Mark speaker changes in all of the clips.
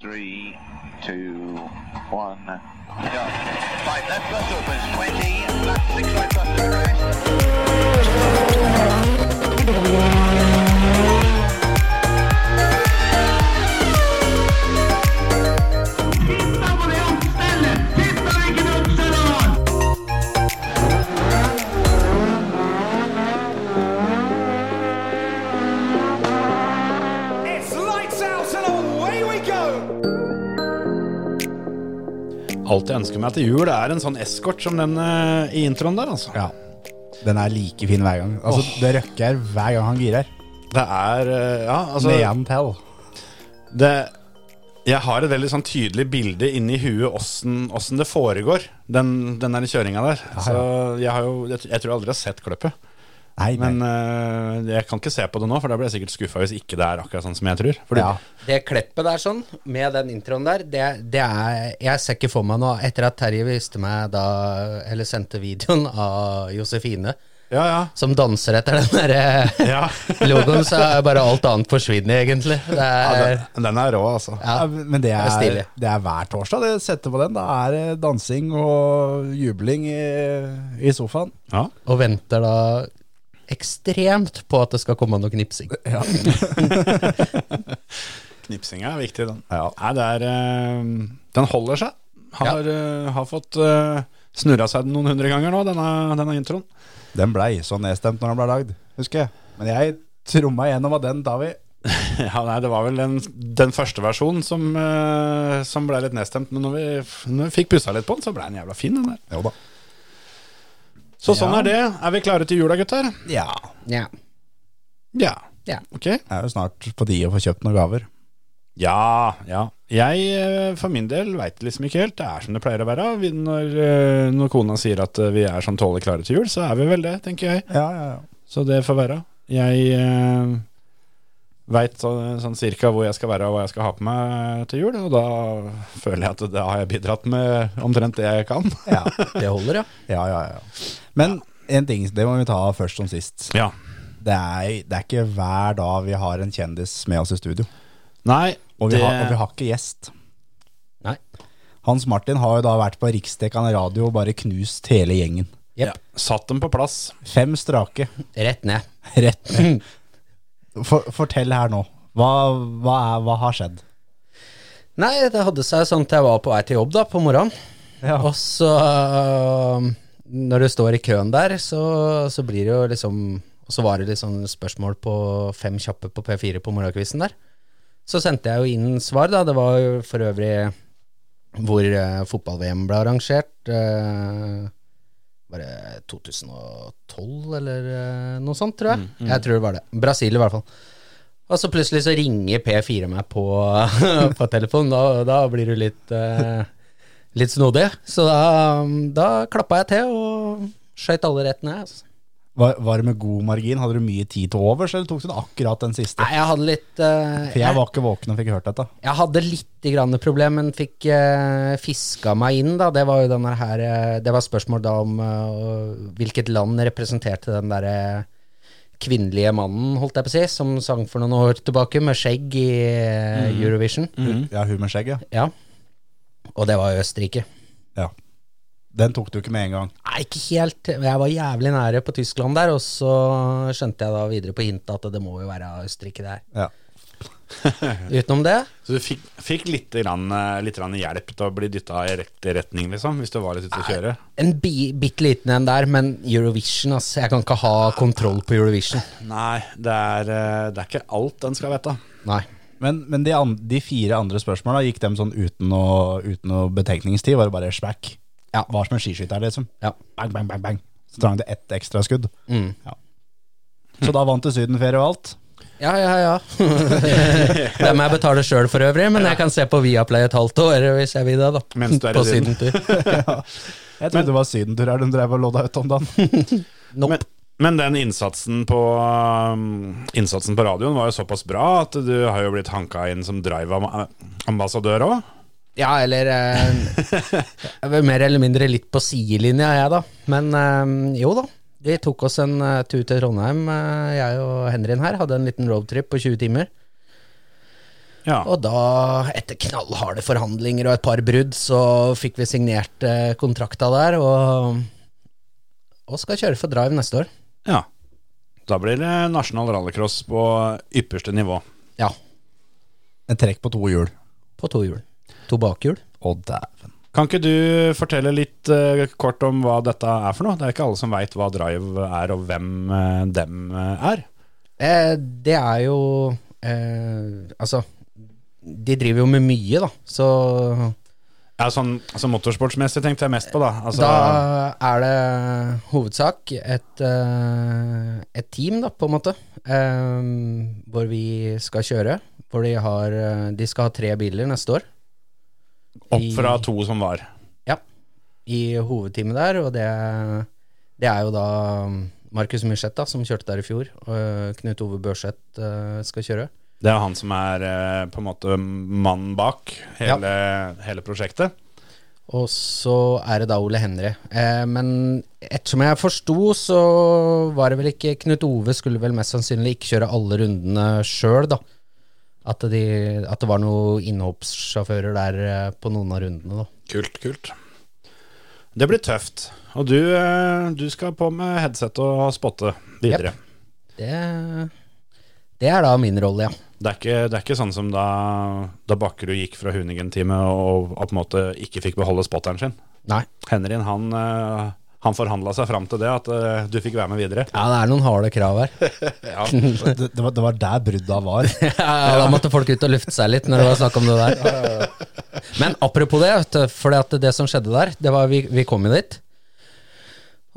Speaker 1: three, two, one, go. Five left bus opens, 20, left six right bus to arrest.
Speaker 2: It's lights out and away we go!
Speaker 3: Alt jeg ønsker meg til jul, er en sånn eskort som den eh, i introen der, altså.
Speaker 4: Ja. Den er like fin hver gang. Altså, Det røkker hver gang han girer.
Speaker 3: Det er eh, Ja, altså
Speaker 4: Neon tell.
Speaker 3: det, Jeg har et veldig sånn tydelig bilde inni huet åssen åssen det foregår, den, den der kjøringa der. Så jeg har jo Jeg, jeg tror jeg aldri har sett kløppet.
Speaker 4: Nei, nei.
Speaker 3: Men eh, jeg kan ikke se på det nå, for da blir jeg sikkert skuffa hvis ikke det er akkurat sånn som jeg tror. Fordi,
Speaker 4: ja.
Speaker 5: Det kleppet der sånn, med den introen der, det, det er Jeg ser ikke for meg noe Etter at Terje viste meg da Eller sendte videoen av Josefine,
Speaker 3: ja, ja.
Speaker 5: som danser etter den derre
Speaker 3: Ja.
Speaker 5: logoen, så er bare alt annet forsvinner, egentlig. Det
Speaker 3: ja
Speaker 5: er
Speaker 3: den, den er rå, altså.
Speaker 5: Ja,
Speaker 4: Men det
Speaker 5: det er
Speaker 4: er,
Speaker 5: stilig.
Speaker 4: det er hver torsdag. Det setter på den. Da er det dansing og jubling i, i sofaen.
Speaker 3: Ja.
Speaker 5: Og venter da ekstremt på at det skal komme noe knipsing.
Speaker 3: Knipsinga er viktig, den. Nei, det er eh, Den holder seg. Har, eh, har fått uh, snurra seg noen hundre ganger nå, denne, denne introen.
Speaker 4: Den blei så nedstemt når den ble lagd, husker jeg. Men jeg tromma gjennom av den tar vi.
Speaker 3: Ja, nei, Det var vel den, den første versjonen som, eh, som ble litt nedstemt, men når vi, når vi fikk pussa litt på den, så ble den jævla fin, den der.
Speaker 4: Jo da.
Speaker 3: Så sånn
Speaker 4: Ja.
Speaker 3: er det. Er vi klare til jula, gutter?
Speaker 4: Ja.
Speaker 5: Ja.
Speaker 3: Ja.
Speaker 5: Ja.
Speaker 3: Ok.
Speaker 4: Det er jo snart på tide å få kjøpt noen gaver.
Speaker 3: Ja, ja. Jeg eh, for min del veit liksom ikke helt. Det er som det pleier å være. Vi, når, eh, når kona sier at eh, vi er sånn tålelig klare til jul, så er vi vel det, tenker jeg.
Speaker 4: Ja, ja, ja.
Speaker 3: Så det får være. Jeg eh, veit så, sånn cirka hvor jeg skal være og hva jeg skal ha på meg til jul, og da føler jeg at da har jeg bidratt med omtrent det jeg kan.
Speaker 4: Ja,
Speaker 5: Det holder, ja.
Speaker 4: ja, ja, ja. Men en ting, det må vi ta først som sist.
Speaker 3: Ja.
Speaker 4: Det er, det er ikke hver dag vi har en kjendis med oss i studio.
Speaker 3: Nei,
Speaker 4: Og vi,
Speaker 3: det,
Speaker 4: har, og vi har ikke gjest.
Speaker 5: Nei.
Speaker 4: Hans Martin har jo da vært på riksdekkende radio og bare knust hele gjengen.
Speaker 3: ja, satt dem på plass.
Speaker 4: Fem strake.
Speaker 5: Rett ned.
Speaker 4: Rett ned. For, fortell her nå. Hva, hva, er, hva har skjedd?
Speaker 5: Nei, det hadde seg sånn at jeg var på vei til jobb da, på morgenen.
Speaker 4: Ja.
Speaker 5: Og så øh, Når du står i køen der, så, så blir det jo liksom Og så var det liksom spørsmål på fem kjappe på P4 på morgenkvisten der. Så sendte jeg jo inn svar, da. Det var jo for øvrig hvor eh, fotball-VM ble arrangert. eh, var det 2012 eller eh, noe sånt, tror jeg. Jeg tror det var det. Brasil, i hvert fall. Og så plutselig så ringer P4 meg på, på telefonen. Da, da blir du litt eh, litt snodig. Så da, da klappa jeg til og skøyt alle rett ned. altså.
Speaker 4: Var, var det med god margin? Hadde du mye tid til overs, eller tok du den akkurat den siste?
Speaker 5: Nei, jeg hadde litt eh,
Speaker 4: For jeg
Speaker 5: jeg,
Speaker 4: var ikke våken og fikk hørt dette.
Speaker 5: jeg hadde lite grann problem, men fikk eh, fiska meg inn, da. Det var jo denne her eh, Det var spørsmål da om eh, hvilket land representerte den derre kvinnelige mannen, holdt jeg på å si, som sang for noen år tilbake, med skjegg i eh,
Speaker 4: Mm.
Speaker 5: Eurovision.
Speaker 4: Ja, hun med skjegget.
Speaker 5: Ja. Og det var Østerrike.
Speaker 4: Ja. Den tok du ikke med en gang.
Speaker 5: Nei, ikke helt. Jeg var jævlig nære på Tyskland der, og så skjønte jeg da videre på hintet at det må jo være Østerrike der.
Speaker 4: Ja.
Speaker 5: Utenom det,
Speaker 3: Så du fikk, fikk litt, grann, eh, litt grann hjelp til å bli dytta i rett retning, liksom, hvis du var litt ute å kjøre?
Speaker 5: en bi, bitte liten en der, men Eurovision, altså. Jeg kan ikke ha kontroll på Eurovision.
Speaker 3: Nei, det er, eh, det er ikke alt en skal vite.
Speaker 5: Nei.
Speaker 4: Men, men de, an, de fire andre spørsmåla, gikk dem sånn uten noe, uten noe betenkningstid? Var det bare smack?
Speaker 5: Ja.
Speaker 4: Var som en skiskytter, liksom.
Speaker 5: Ja.
Speaker 4: Bang, bang, bang, bang. Så trang det ett ekstra skudd. Ja. Så da vant du sydenferie og alt.
Speaker 5: Ja, ja, ja. Dem jeg betaler sjøl for øvrig, men jeg kan se på Viaplay et halvt år hvis jeg vil det, da.
Speaker 3: Mens du er i
Speaker 5: på
Speaker 3: Syden.
Speaker 5: sydentur.
Speaker 4: Jeg trodde det var sydentur her de drev og lodda ut om dagen.
Speaker 5: Nope.
Speaker 3: Men, men den innsatsen på, um, innsatsen på radioen var jo såpass bra at du har jo blitt hanka inn som eh, drive-ambassadør òg.
Speaker 5: Ja, eller eh, jeg var Mer eller mindre litt på sidelinja, jeg, da. Men eh, jo da. Vi tok oss en eh, tur til Trondheim, eh, jeg og Henrin her. Hadde en liten roadtrip på 20 timer.
Speaker 3: Ja.
Speaker 5: Og da, etter knallharde forhandlinger og et par brudd, så fikk vi signert eh, kontrakta der, og, og skal kjøre for Drive neste år.
Speaker 3: ja. Da blir det nasjonal rallycross på ypperste nivå.
Speaker 5: Ja,
Speaker 4: En trekk på to hjul.
Speaker 5: på to hjul. To bakhjul.
Speaker 4: Å, dæven.
Speaker 3: Kan ikke du fortelle litt eh, kort om hva dette er for noe? Det er ikke alle som veit hva Drive er, og hvem eh, dem eh, er.
Speaker 5: Eh, det er jo eh, Altså, de driver jo med mye, da, så
Speaker 3: Ja, sånn, altså motorsportsmessig tenkte jeg mest på, da. Altså,
Speaker 5: Da er det hovedsak et, eh, et team, da, på en måte, eh, hvor vi skal kjøre. Hvor de har eh, De skal ha tre biler neste år.
Speaker 3: opp fra to som var.
Speaker 5: Ja, i hovedteamet der, og det, det er jo da Markus Myrseth, da, som kjørte der i fjor. Og Knut Ove Børseth eh, skal kjøre.
Speaker 3: Det er han som er eh, på en måte mannen bak hele, hele prosjektet.
Speaker 5: Og så er det da Ole Henry. Eh, men ettersom jeg forsto, så var det vel ikke Knut Ove skulle vel mest sannsynlig ikke kjøre alle rundene sjøl, da. At, de, at det var noen innhoppssjåfører der eh, på noen av rundene, da.
Speaker 3: Kult, kult. Det blir tøft. Og du, eh, du skal på med headset og spotte videre.
Speaker 5: Det, det er da min rolle, ja.
Speaker 3: Det, er ikke, det er ikke sånn som da, da Bakkerud gikk fra Hunigen-teamet og, og på en måte ikke fikk beholde spotteren sin.
Speaker 5: Nei.
Speaker 3: Henrin han, eh, han forhandla seg fram til det, at eh, du fikk være med videre.
Speaker 5: Ja, det er noen harde krav her.
Speaker 4: Det, det, var, det var der brudda var.
Speaker 5: Ja, da måtte folk ut og lufte seg litt når det var snakk om det der. Men apropos det, vet du, for det, det som skjedde der, det var vi, vi kom jo dit.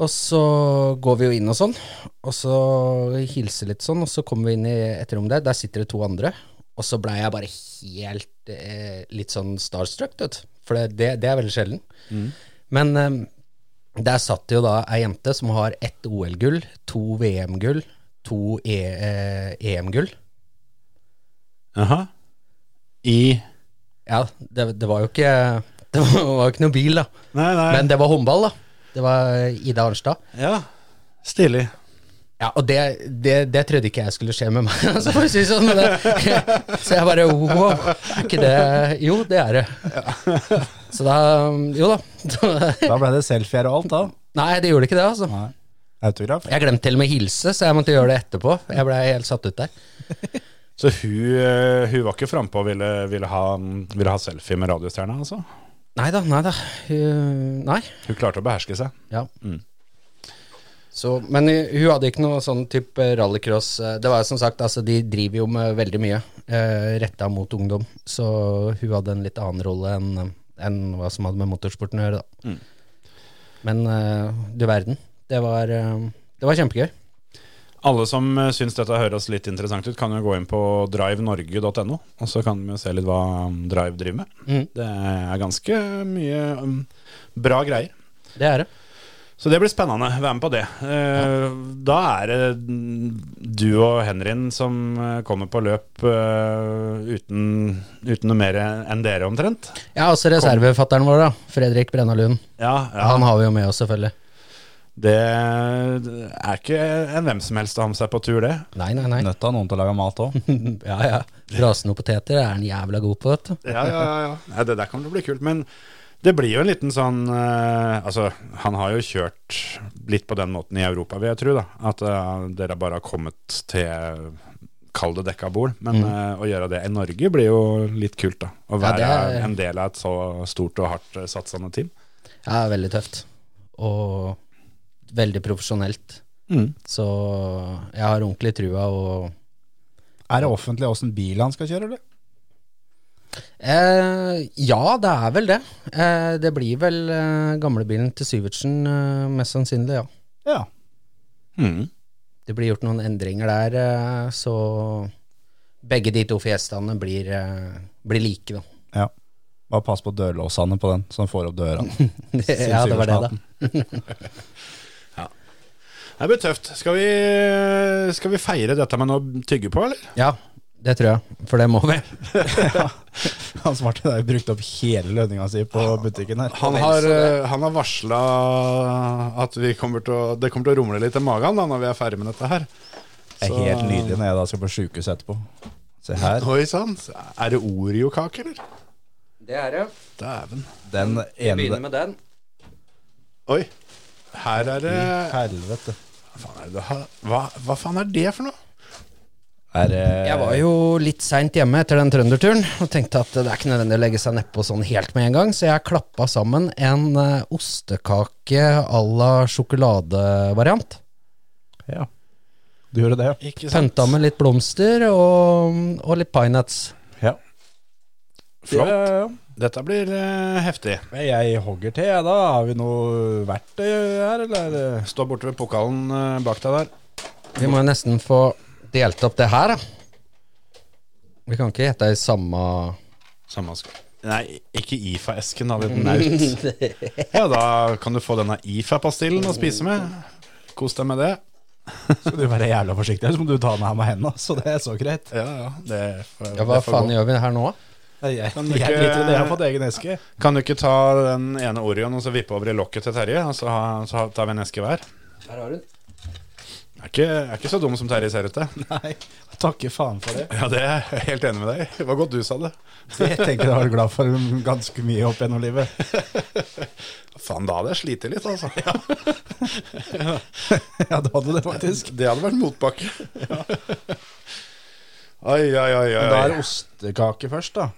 Speaker 5: Og så går vi jo inn og sånn, og så hilser litt sånn, og så kommer vi inn i et rom der, der sitter det to andre. Og så blei jeg bare helt eh, litt sånn starstruck, vet du. For det, det, det er veldig sjelden. Men eh, der satt jo da ei jente som har ett OL-gull, to VM-gull, to e eh, EM-gull.
Speaker 3: Jaha. I
Speaker 5: Ja, det, det var jo ikke Det var, var jo ikke noen bil, da.
Speaker 3: Nei, nei.
Speaker 5: Men det var håndball, da. Det var eh, Ida Arnstad.
Speaker 3: ja. Stilig.
Speaker 5: Ja, Og det, det, det trodde ikke jeg skulle skje med meg. altså, for å si det sånn, men det, så jeg bare wow, er ikke det Jo, det er det. Så da Jo da.
Speaker 4: Da ble det selfier og alt, da.
Speaker 5: Nei, det gjorde ikke det, altså.
Speaker 4: Nei. Autograf.
Speaker 5: Jeg glemte til og med å hilse, så jeg måtte gjøre det etterpå. Jeg ble helt satt ut der.
Speaker 3: Så hun, eh, hun var ikke frampå og ville, ville, ha- ville ha selfie med radiostjerna, altså?
Speaker 5: Nei da, nei da. Hun- Nei.
Speaker 3: Hun klarte å beherske seg.
Speaker 5: Ja. Så, men hu- hun hadde ikke noe sånn type rallycross. eh, Det var jo som sagt, altså de driver jo med veldig mye eh, retta mot ungdom, så hun hadde en litt annen rolle enn enn hva som hadde med motorsporten å gjøre, da. Men eh, du verden. Det var, eh, det var kjempegøy.
Speaker 3: Alle som eh, syns dette høres litt interessant ut, kan jo gå inn på drivenorge.no, og så kan vi jo se litt hva um, Drive driver med.
Speaker 5: Mm.
Speaker 3: Det er ganske mye um, bra greier.
Speaker 5: Det er det.
Speaker 3: Så det blir spennende. Være med på det. Eh, Da er det mm, du og Henrin som eh, kommer på løp eh, uten, uten noe mer enn dere, omtrent.
Speaker 5: Ja, også reservefatteren vår, da. Fredrik Brenna Lund.
Speaker 3: Ja, ja.
Speaker 5: Han har vi jo med oss, selvfølgelig.
Speaker 3: Det er ikke en hvem som helst å ha med seg på tur, det.
Speaker 5: Nei, nei, nei.
Speaker 4: Nøtta noen til å lage mat òg.
Speaker 5: ja, ja. Rasende poteter er han jævla god på, vet du.
Speaker 3: Ja, ja, ja, ja. Nei, det der kommer til å bli kult. Men det blir jo en liten sånn eh, Altså, han har jo kjørt litt på den måten i Europa, vil jeg tro. da At eh, dere bare har kommet til Kall det dekka bord. Men eh, å gjøre det i Norge blir jo litt kult, da. Å
Speaker 5: Ja,
Speaker 3: være
Speaker 5: det er-
Speaker 3: en del av et så stort og hardt eh, satsende team.
Speaker 5: Ja, veldig tøft. Og veldig profesjonelt.
Speaker 3: Mm.
Speaker 5: Så jeg har ordentlig trua og
Speaker 4: Er det offentlig åssen bil han skal kjøre, eller?
Speaker 5: eh, Ja, det er vel det. Eh, det blir vel eh, gamlebilen til Syvertsen, eh, mest sannsynlig, ja.
Speaker 4: Ja.
Speaker 3: Mm.
Speaker 5: Det blir gjort noen endringer der, eh, så begge de to fiestaene blir, eh, blir like, da.
Speaker 4: ja. Bare pass på dørlåsene på den, så han får opp døra.
Speaker 5: ja, det var det, da.
Speaker 3: Det blir tøft. Skal vi, skal vi feire dette med noe tygge på, eller?
Speaker 5: Ja, det tror jeg. For det må vi.
Speaker 4: Han svarte der brukte opp hele lønninga si på butikken her.
Speaker 3: Han har, eh, han har varsla at vi kommer til å, det kommer til å rumle litt i magen da når vi er ferdig med dette her.
Speaker 4: Det er helt nydelig når jeg da skal på sjukehus etterpå. Se her.
Speaker 3: Oi sann. Er det Oreo-kake, eller?
Speaker 5: Det er det.
Speaker 3: Dæven.
Speaker 4: Den ene
Speaker 5: med den.
Speaker 3: Oi. Her er det
Speaker 4: Helvete.
Speaker 3: Hva faen er det du har- hva, hva faen er det for noe?
Speaker 4: Er det
Speaker 5: Jeg var jo litt seint hjemme etter den trønderturen og tenkte at det er ikke nødvendig å legge seg nedpå sånn helt med en gang, så jeg klappa sammen en eh, ostekake à la sjokoladevariant.
Speaker 4: eh, ja. Du gjorde det, ja.
Speaker 3: Ikke
Speaker 5: Pønta med litt blomster og, og litt pinenuts.
Speaker 4: ja.
Speaker 3: Flott.
Speaker 4: Ja, ja,
Speaker 3: Dette blir eh, heftig.
Speaker 4: ja. Jeg hogger til, jeg, da. Har vi noe verktøy her, eller?
Speaker 3: Stå borte ved pokalen eh, bak deg der.
Speaker 5: Vi må jo nesten få delt opp det her, da. Vi kan ikke gjette i samme
Speaker 3: Samme sk- Nei, ikke IFA-esken, da. Den er ut. Ja, da kan du få denne IFA-pastillen å spise med. Kos deg med det.
Speaker 4: Skal du være jævla forsiktig, ellers må du ta den her med hendene. Så det er så greit.
Speaker 3: Ja, ja. Det, får-
Speaker 5: Ja, hva
Speaker 3: det får
Speaker 5: faen
Speaker 3: gå.
Speaker 5: gjør vi her nå?
Speaker 4: Jeg, jeg,
Speaker 3: Kan du ikke-
Speaker 4: driter i det, jeg har fått egen eske.
Speaker 3: Kan du ikke ta den ene Oreoen og så vippe over i lokket til Terje, og så, ha- så ha- tar vi en eske hver?
Speaker 5: Her har du
Speaker 3: Jeg er ikke, jeg er ikke så dum som Terje ser ut til.
Speaker 4: Nei, takker faen for det.
Speaker 3: Ja, det er jeg helt enig med deg i. Det var godt du sa det.
Speaker 4: Jeg tenker jeg har vært glad for ganske mye opp gjennom livet.
Speaker 3: Faen, da hadde jeg slitt litt, altså.
Speaker 4: Ja, det hadde det faktisk.
Speaker 3: Det hadde vært motbakke. Oi, oi, oi. oi.
Speaker 4: Da er det ostekake først, da.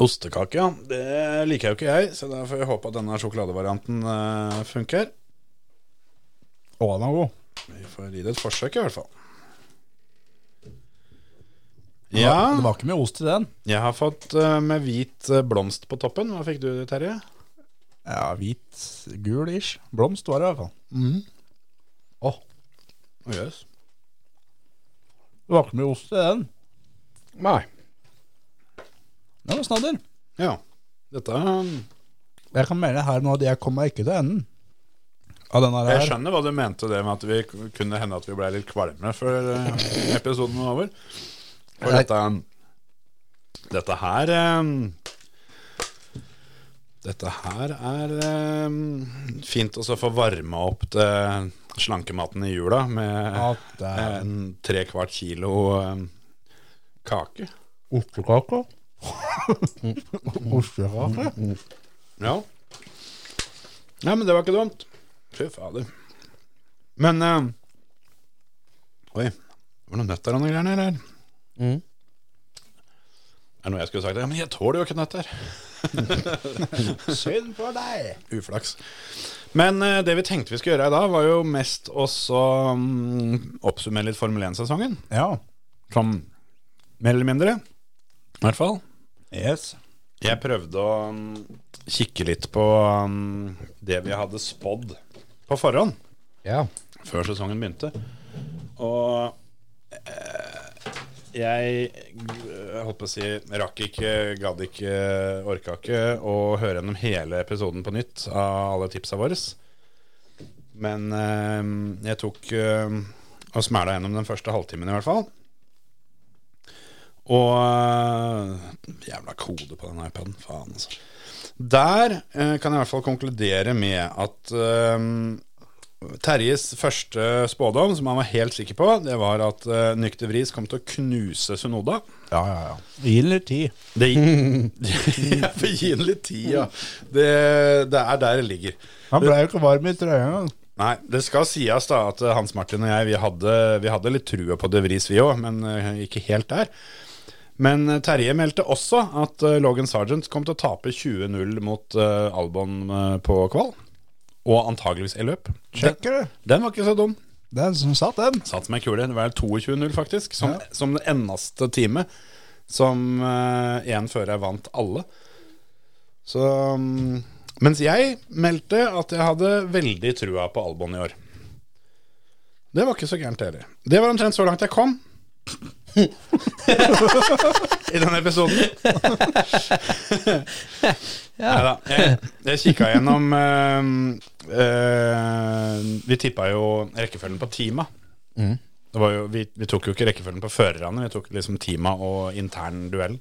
Speaker 3: Ostekake, ja. Det liker jo ikke jeg, så da får vi håpe at denne sjokoladevarianten eh, funker.
Speaker 4: Å, den er god.
Speaker 3: Vi får gi det et forsøk, i hvert fall.
Speaker 4: Det var-
Speaker 3: Ja,
Speaker 4: Det var ikke mye ost i den.
Speaker 3: jeg har fått eh, med hvit eh, blomst på toppen. Hva fikk du, Terje?
Speaker 4: Ja, hvit, gul ish. Blomst var det i hvert fall.
Speaker 3: Å, Jøss.
Speaker 4: Det var ikke mye ost i den.
Speaker 3: Nei.
Speaker 4: Det var snadder.
Speaker 3: Ja. Dette um,
Speaker 4: Jeg kan melde her nå at jeg kom meg ikke til enden av denne
Speaker 3: Jeg
Speaker 4: her.
Speaker 3: skjønner hva du mente det med at vi k- kunne hende at vi ble litt kvalme før eh, episoden var over. For
Speaker 5: Nei.
Speaker 3: dette, dette her eh, Dette her er eh, fint også å få varma opp til slankematen i jula med
Speaker 4: Ja, det er-
Speaker 3: en tre kvart kilo eh, kake.
Speaker 4: Ostekake. Mm. Ostekake?
Speaker 3: Ja. Nei, men det var ikke dumt. Fy fader. Men eh, Oi. Var det noen nøtter og noen greier nedi her?
Speaker 5: Mm.
Speaker 3: Er det noe jeg skulle sagt? Ja, men jeg tåler jo ikke nøtter.
Speaker 4: Synd på deg!
Speaker 3: Uflaks. Men eh, det vi tenkte vi skulle gjøre i dag, var jo mest også mm, oppsummere litt Formel 1-sesongen.
Speaker 4: Ja.
Speaker 3: Som mer eller mindre. I hvert fall.
Speaker 4: Yes.
Speaker 3: Jeg prøvde å mm, kikke litt på mm, det vi hadde spådd på forhånd.
Speaker 5: Ja.
Speaker 3: før sesongen begynte. Og eh, jeg eh, holdt på å si rakk ikke, gadd ikke, orka ikke å høre gjennom hele episoden på nytt av alle tipsa våre. Men eh, jeg tok eh, og smæla gjennom den første halvtimen i hvert fall. Og eh, jævla kode på den iPaden. Faen, altså. Der eh, kan jeg i hvert fall konkludere med at eh, Terjes første spådom, som han var helt sikker på, det var at uh, Nykter Vris kom til å knuse Sunoda.
Speaker 4: Ja, ja, ja. Gi litt tid.
Speaker 3: Det Jeg får gi den litt tid, ja. Det, det er der det ligger.
Speaker 4: Han ble jo ikke varm i trøya engang.
Speaker 3: Nei, det skal sies da at eh, Hans Martin og jeg, vi hadde, vi hadde litt trua på De Vries vi òg, men eh, ikke helt der. Men eh, Terje meldte også at eh, Logan Sargent kom til å tape 20-0 mot eh, Albon eh, på kval. Og antageligvis i løp.
Speaker 4: Sjekker du?
Speaker 3: Den var ikke så dum.
Speaker 4: Den som satt, den.
Speaker 3: Satt som ei kule. Det var 22-0, faktisk. Som, som den eneste time som eh, én fører vant alle. Så mm, Mens jeg meldte at jeg hadde veldig trua på Albon i år. Det var ikke så gærent heller. Det var omtrent så langt jeg kom. I denne episoden. Neida, Jeg, jeg kikka gjennom eh, eh, Vi tippa jo rekkefølgen på teama. Det var jo, vi, vi tok jo ikke rekkefølgen på førerne, vi tok liksom teama og intern duell.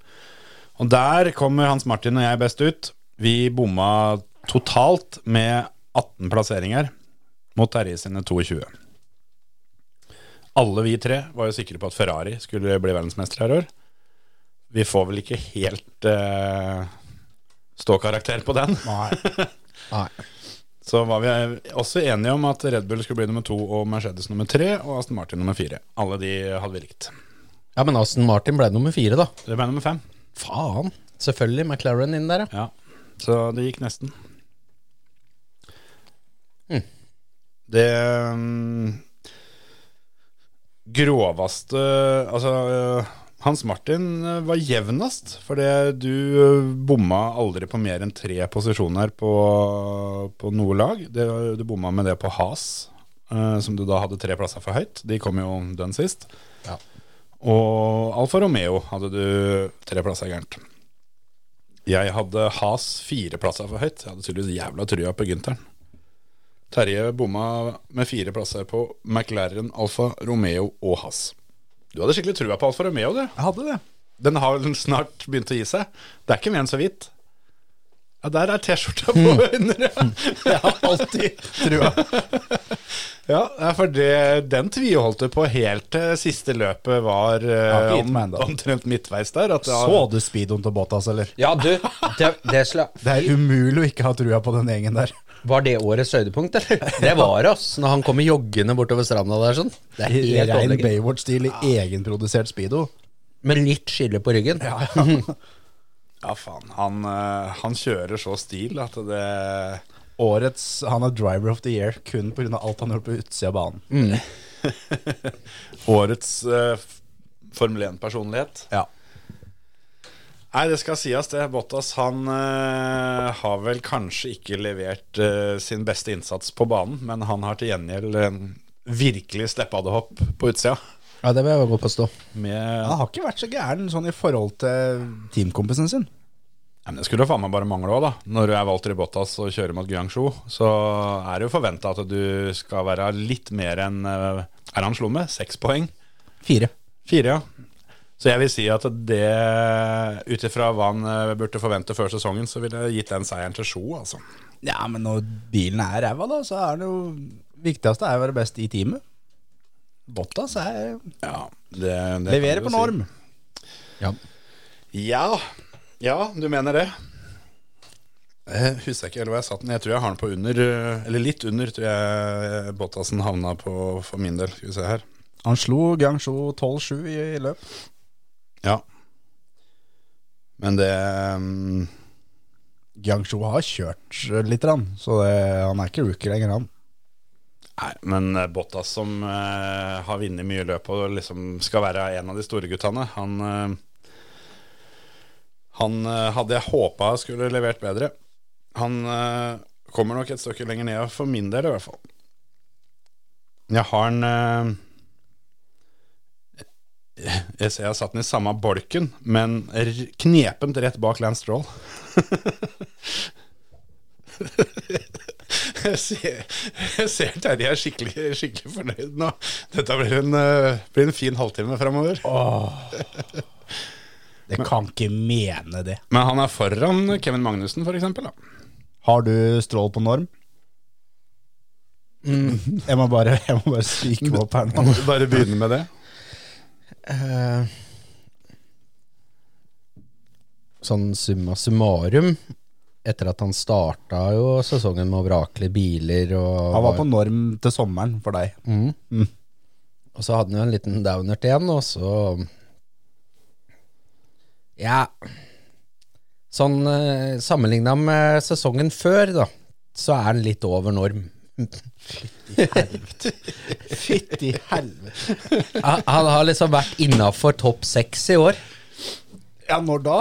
Speaker 3: Og der kommer Hans Martin og jeg best ut. Vi bomma totalt med 18 plasseringer mot Terje sine 22. Alle vi tre var jo sikre på at Ferrari skulle bli verdensmester her i år. Vi får vel ikke helt eh, ståkarakter på den.
Speaker 4: Nei.
Speaker 5: Nei.
Speaker 3: Så var vi også enige om at Red Bull skulle bli nummer to og Mercedes nummer tre og Aston Martin nummer fire. Alle de hadde vi likt.
Speaker 5: Ja, men Aston Martin ble nummer fire, da.
Speaker 3: Det ble nummer fem.
Speaker 5: Faen. Selvfølgelig McLaren inn der, ja.
Speaker 3: Ja, så det gikk nesten.
Speaker 5: Mm.
Speaker 3: Det mm, groveste Altså, øh, Hans Martin øh, var jevnest, fordi du øh, bomma aldri på mer enn tre posisjoner på, på noe lag. Det, du bomma med det på Has, øh, som du da hadde tre plasser for høyt. De kom jo den sist.
Speaker 5: Ja.
Speaker 3: Og Alfa Romeo hadde du tre plasser gærent. Jeg hadde Has fire plasser for høyt. Jeg hadde tydeligvis jævla trua på Gynteren. Terje bomma med fire plasser på McLaren, Alfa Romeo og Has. Du hadde skikkelig trua på Alfa Romeo, du.
Speaker 4: Jeg hadde det.
Speaker 3: Den har vel snart begynt å gi seg. Det er ikke mer enn så vidt. Ja, der er T-skjorta på
Speaker 4: Hmm.
Speaker 3: under, ja.
Speaker 4: Alltid, tror jeg.
Speaker 3: ja. nei, For det, den tviholdt du på helt til siste løpet var eh,
Speaker 4: har ikke gitt
Speaker 3: om,
Speaker 4: meg enda.
Speaker 3: omtrent midtveis der. At det har-
Speaker 4: Så du speedoen til Bottas, eller?
Speaker 5: Ja, du, det, det sla-
Speaker 4: Det er umulig å ikke ha trua på den gjengen der.
Speaker 5: Var det årets høydepunkt, eller? Det var det, ass. Når han kommer joggende bortover stranda der sånn. Det er
Speaker 4: I
Speaker 5: helt
Speaker 4: Rein
Speaker 5: overlegent.
Speaker 4: Baywatch-stil i egenprodusert speedo.
Speaker 5: Med litt skille på ryggen.
Speaker 3: Ja, faen. Han, eh, han kjører så stil at det
Speaker 4: Årets Han er driver of the year kun pga. alt han gjorde på utsida av banen.
Speaker 3: Årets eh, f- Formel 1-personlighet.
Speaker 4: Ja.
Speaker 3: Nei, det skal sies, det. Bottas han eh, har vel kanskje ikke levert eh, sin beste innsats på banen, men han har til gjengjeld eh, virkelig steppa det opp på utsida.
Speaker 5: Ja, det vil jeg gå på å stå.
Speaker 3: Med,
Speaker 4: Han har ikke vært så gæren sånn i forhold til teamkompisen sin.
Speaker 3: Nei, men det skulle faen meg bare mangle òg, da. Når du er Walter Bottas og kjører mot Guangzhou, så er det jo forventa at du skal være litt mer enn eh, Er han slo med? Seks poeng?
Speaker 4: Fire.
Speaker 3: Fire, ja. Så jeg vil si at det, ut ifra hva han eh, burde forvente før sesongen, så ville jeg gitt den seieren til Sjo, altså.
Speaker 4: Ja, men når bilen er ræva, da, så er det jo Viktigste er å være best i teamet. Bottas er
Speaker 3: Ja, det, det
Speaker 4: Leverer
Speaker 3: kan du
Speaker 4: på
Speaker 3: si.
Speaker 4: norm.
Speaker 5: Ja.
Speaker 3: Ja. ja, du mener det. Jeg husker ikke helt hvor jeg satt den. Jeg tror jeg har den på under, eh, eller litt under, tror jeg Bottasen havna på for min del. Skal vi se her.
Speaker 4: Han slo Guangzhou 12-7 i, i løp.
Speaker 3: Ja. Men det mm,
Speaker 4: Guangzhou har kjørt litt, rann, så det, han er ikke rookie lenger, han.
Speaker 3: Nei, men eh, Bottas som eh, har vunnet mye løp og liksom skal være en av de store guttene, han eh, Han eh, hadde jeg håpa skulle levert bedre. Han eh, kommer nok et stykke lenger ned, for min del i hvert fall. Jeg har en eh, Jeg ser jeg har satt den i samme bolken, men r knepent rett bak Lance Stroll. Jeg ser, jeg ser Terje er skikkelig, skikkelig fornøyd nå. Dette blir en, eh, blir en fin halvtime framover.
Speaker 4: Det kan ikke mene det.
Speaker 3: Men han er foran Kevin Magnussen, for eksempel. Da.
Speaker 4: Har du strål på norm? Jeg må bare, jeg må bare syke meg opp her nå.
Speaker 3: Bare begynne med det.
Speaker 5: Eh, sånn summa summarum Etter at han starta jo sesongen med å vrake litt biler og
Speaker 4: Han var på norm til sommeren for deg.
Speaker 5: Mm. Og så hadde han jo en liten downert igjen, og så Ja. Sånn eh, sammenligna med sesongen før, da, så er han litt over norm.
Speaker 4: Fytti helvete.
Speaker 5: Han, han har liksom vært innafor topp seks i år.
Speaker 4: Ja, når da?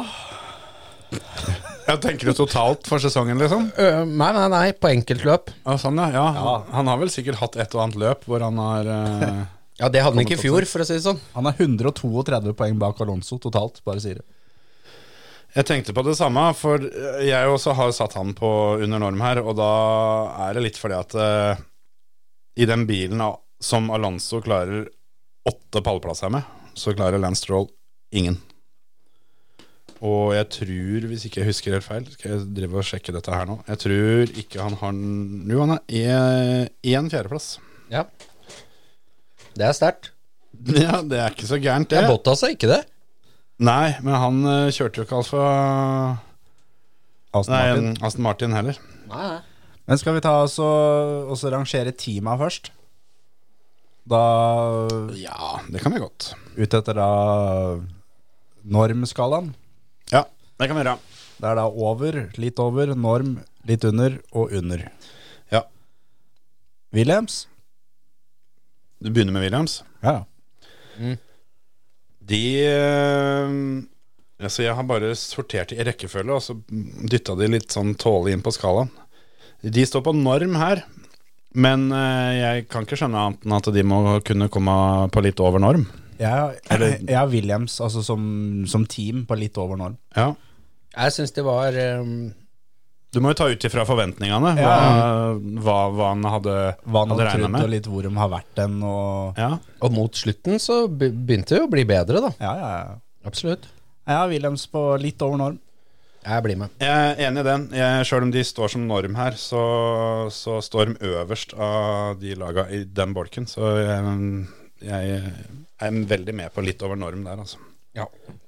Speaker 3: Jeg tenker det totalt for sesongen, liksom.
Speaker 5: Ø, nei, nei, nei, på enkeltløp.
Speaker 3: Ja, sånn, ja. ja. Han har vel sikkert hatt et og annet løp hvor han har eh,
Speaker 5: Ja, det hadde han ikke i fjor, for å si det sånn.
Speaker 4: Han er 132 poeng bak Alonso totalt, bare sier det.
Speaker 3: Jeg tenkte på det samme, for jeg også har satt han på under norm her, og da er det litt fordi at eh, i den bilen av- som Alonso klarer åtte pallplasser med, så klarer Lance Stroll ingen. Og jeg tror, hvis ikke jeg husker helt feil, skal jeg drive og sjekke dette her nå Jeg tror ikke han har n- Jo, han har én fjerdeplass.
Speaker 5: Ja. Det er sterkt.
Speaker 3: Ja, det er ikke så gærent,
Speaker 5: Ja,
Speaker 3: det.
Speaker 5: Bottas er ikke det.
Speaker 3: Nei, men han eh, kjørte jo ikke Alfa
Speaker 4: Aston
Speaker 3: Nei,
Speaker 4: Martin.
Speaker 3: Aston Martin heller.
Speaker 4: Men skal vi ta oss og og så rangere teama først? Da
Speaker 3: Ja, det kan vi godt.
Speaker 4: ut etter da normskalaen.
Speaker 3: Ja, det kan vi gjøre.
Speaker 4: Det er da over, litt over, norm, litt under og under.
Speaker 3: Ja.
Speaker 4: Williams?
Speaker 3: Du begynner med Williams.
Speaker 4: Ja.
Speaker 3: De eh, Altså, jeg har bare sortert i rekkefølge, og så dytta de litt sånn tålelig inn på skalaen. De står på norm her, men eh, jeg kan ikke skjønne annet enn at de må kunne komme på litt over norm.
Speaker 4: Jeg, jeg, jeg har Williams altså som, som team på litt over norm.
Speaker 3: Ja.
Speaker 5: Jeg syns det var ehm,
Speaker 3: Du må jo ta ut ifra forventningene hva, hva, hva han hadde,
Speaker 4: Hva han
Speaker 3: hadde
Speaker 4: har
Speaker 3: regna
Speaker 4: trodd, og
Speaker 3: med.
Speaker 4: litt hvor de har vært den, og
Speaker 3: Ja.
Speaker 5: Og mot slutten så be- begynte det jo å bli bedre, da.
Speaker 4: Ja, ja, ja.
Speaker 5: Absolutt.
Speaker 4: Jeg har Williams på litt over norm.
Speaker 5: Jeg blir med.
Speaker 3: Jeg er enig i den. Jeg, selv om de står som norm her, så, så står de øverst av de laga i den bolken. Så jeg, jeg er veldig med på litt over norm der, altså.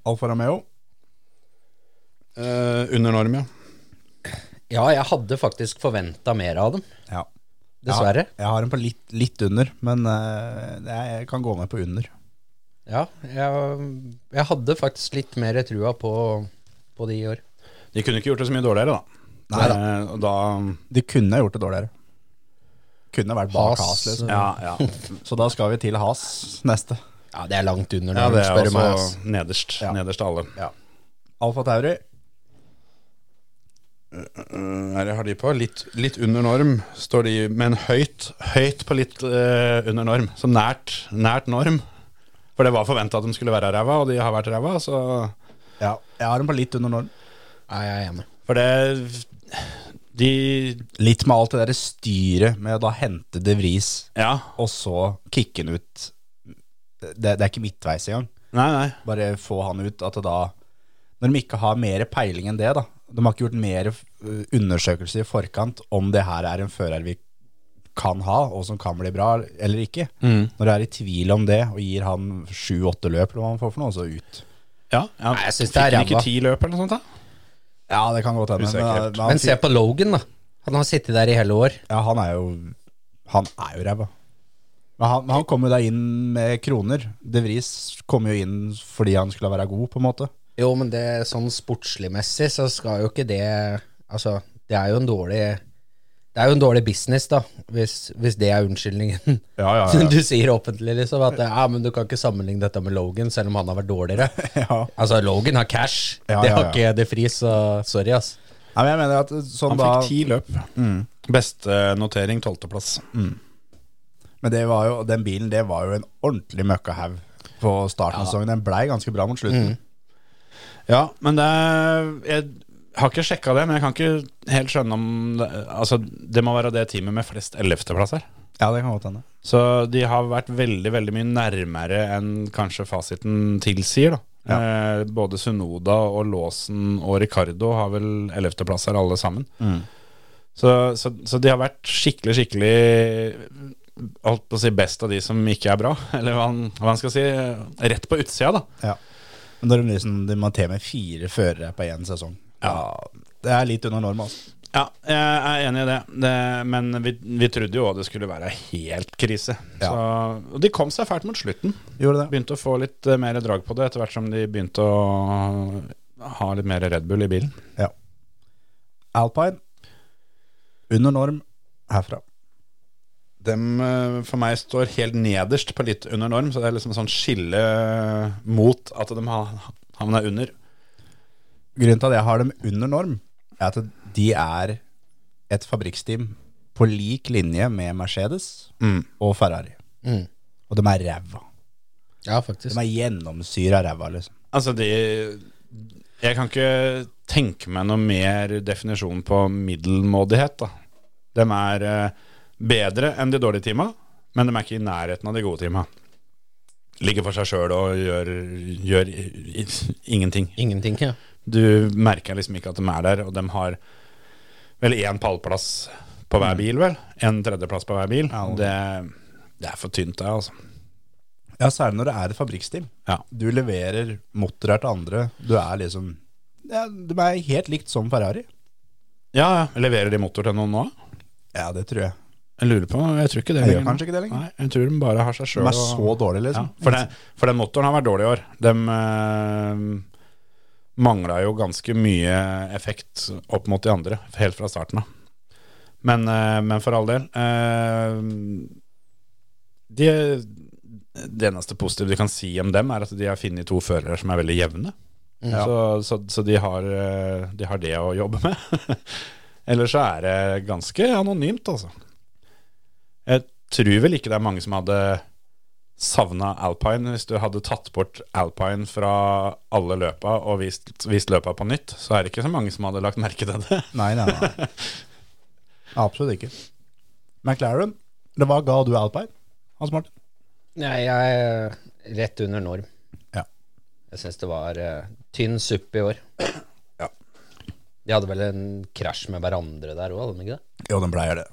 Speaker 4: Alfa Romeo?
Speaker 3: Eh, under norm, ja.
Speaker 5: Ja, jeg hadde faktisk forventa mer av dem,
Speaker 4: Ja.
Speaker 5: dessverre.
Speaker 4: Jeg har den på litt, litt under, men eh, jeg kan gå med på under.
Speaker 5: Ja, jeg, jeg hadde faktisk litt mer trua på, på de i år.
Speaker 3: De kunne ikke gjort det så mye dårligere, da.
Speaker 4: Neida.
Speaker 3: Eh, og da
Speaker 4: De kunne gjort det dårligere. Kunne vært bak
Speaker 5: Haas,
Speaker 4: Haas, liksom.
Speaker 3: ja, ja.
Speaker 4: Så da skal vi til Haas neste.
Speaker 5: Ja, det er langt under
Speaker 3: ja, det
Speaker 5: når du
Speaker 3: er altså-
Speaker 5: spør meg. ass.
Speaker 3: også nederst.
Speaker 4: Ja.
Speaker 3: Nederst av alle.
Speaker 4: Alfa Tauri.
Speaker 3: Her har de på litt, litt under norm, står de, men høyt, høyt på litt eh, under norm. Så nært, nært norm. For det var forventa at de skulle være ræva, og de har vært ræva. Så
Speaker 4: Ja, jeg har den på litt under norm.
Speaker 5: Nei, jeg er enig.
Speaker 3: For det De
Speaker 4: Litt med alt det der styret med å da hente De Vries,
Speaker 3: Ja.
Speaker 4: og så kicke han ut. Det, det er ikke midtveis engang.
Speaker 3: Nei, nei.
Speaker 4: Bare få han ut at det da Når de ikke har mer peiling enn det, da. De har ikke gjort mer eh, undersøkelser i forkant om det her er en fører vi kan ha, og som kan bli bra eller ikke. Når du er i tvil om det, og gir han sju-åtte løp eller hva han får for noe, og så ut.
Speaker 3: Ja, ja.
Speaker 5: Nei, jeg synes det
Speaker 3: Fikk
Speaker 5: er
Speaker 3: han ikke
Speaker 5: ræva.
Speaker 3: ti løp eller noe sånt? da?
Speaker 4: Ja, det kan godt hende. men-
Speaker 3: Usikkert.
Speaker 4: men han
Speaker 5: Men se
Speaker 4: fikk-
Speaker 5: på Logan, da. Han har sittet der i hele år.
Speaker 4: Ja, han er jo Han er jo ræva. Men han, han kom jo da inn med kroner. De Vries kom jo inn fordi han skulle være god, på en måte.
Speaker 5: Jo, men det sånn sportsligmessig så skal jo ikke det Altså, det er jo en dårlig Det er jo en dårlig business, da, hvis, hvis det er unnskyldningen
Speaker 4: Ja, ja,
Speaker 5: du sier offentlig, liksom. At ja, men du kan ikke sammenligne dette med Logan, selv om han har vært dårligere.
Speaker 4: ja.
Speaker 5: Altså, Logan har cash.
Speaker 4: Ja,
Speaker 5: det
Speaker 4: ja,
Speaker 5: har
Speaker 4: ja.
Speaker 5: ikke De Vries, så sorry, ass.
Speaker 4: Nei, men jeg mener at sånn
Speaker 3: Han
Speaker 4: da
Speaker 3: fikk ti løp. Beste notering tolvteplass.
Speaker 4: Men det var jo, den bilen det var jo en ordentlig møkkahaug på starten av sesongen. Den blei ganske bra mot slutten.
Speaker 3: Mm. Ja, men det er, Jeg har ikke sjekka det, men jeg kan ikke helt skjønne om det, Altså, det må være det teamet med flest ellevteplasser.
Speaker 4: Ja, det kan godt hende.
Speaker 3: Så de har vært veldig veldig mye nærmere enn kanskje fasiten tilsier. da. Eh, både Sunoda og Låsen og Ricardo har vel ellevteplasser alle sammen. Så, så, så de har vært skikkelig, skikkelig Holdt på å si best av de som ikke er bra. Eller hva man, hva man skal si. Rett på utsida, da.
Speaker 4: Ja. Men når de liksom de må til med fire førere på én sesong ja. Det er litt under norma. Altså.
Speaker 3: Ja, jeg er enig i det. det men vi, vi trodde jo det skulle være helt krise.
Speaker 4: Ja.
Speaker 3: Så, og de kom seg fælt mot slutten.
Speaker 4: Gjorde det?
Speaker 3: Begynte å få litt eh, mer drag på det etter hvert som de begynte å eh, ha litt mer Red Bull i bilen.
Speaker 4: Ja. Alpine. Under norm herfra.
Speaker 3: Dem eh, for meg står helt nederst på litt under norm, så det er liksom sånn skille eh, mot at de ha- havna under.
Speaker 4: Grunnen til at jeg har dem under norm, er at de er et fabrikksteam på lik linje med Mercedes og Ferrari.
Speaker 5: Mm.
Speaker 4: Og de er ræva.
Speaker 5: Ja, faktisk.
Speaker 4: De er gjennomsyra ræva, liksom.
Speaker 3: Altså, de Jeg kan ikke tenke meg noe mer definisjon på middelmådighet, da. De er eh, bedre enn de dårlige teama, men de er ikke i nærheten av de gode teama. Ligger for seg sjøl og gjør, gjør i, i, ingenting.
Speaker 5: Ingenting, ja.
Speaker 3: Du merker liksom ikke at de er der, og de har vel én pallplass på
Speaker 4: Mm.
Speaker 3: hver bil, vel? En tredjeplass på hver bil.
Speaker 4: Ja.
Speaker 3: Det, det er for tynt, det, altså.
Speaker 4: Ja, særlig når det er et fabrikksteam.
Speaker 3: Ja.
Speaker 4: Du leverer motorer til andre. Du er liksom ja, De er helt likt som Ferrari.
Speaker 3: Ja, ja. Leverer de motor til noen nå?
Speaker 4: Ja, det tror jeg.
Speaker 3: Jeg lurer på, jeg tror ikke det
Speaker 4: Jeg gjør kanskje ikke det lenger.
Speaker 3: Nei, jeg tror de bare har seg
Speaker 4: De
Speaker 3: sjøl.
Speaker 4: er så
Speaker 3: ja,
Speaker 4: dårlige, liksom.
Speaker 3: for, den, for den motoren har vært dårlig i år. De eh, mangla jo ganske mye effekt opp mot de andre, helt fra starten av. Men, eh, men for all del eh, de, Det eneste positive du kan si om dem, er at de har funnet to førere som er veldig jevne. Så, så, så de, har, eh, de har det å jobbe med. Ellers så er det ganske anonymt, altså. Jeg tror vel ikke det er mange som hadde savna alpine. Hvis du hadde tatt bort alpine fra alle løpa og vist, vist løpa på nytt, så er det ikke så mange som hadde lagt merke til det.
Speaker 4: Nei, nei, nei. Absolutt ikke. McLaren, det var ga du Alpine, Hans Martin?
Speaker 5: Nei, jeg er rett under norm.
Speaker 4: Ja.
Speaker 5: Jeg syns det var eh, tynn suppe i år.
Speaker 4: Ja.
Speaker 5: De hadde vel en krasj med hverandre der òg, hadde de ikke det?
Speaker 4: Jo, den pleier det.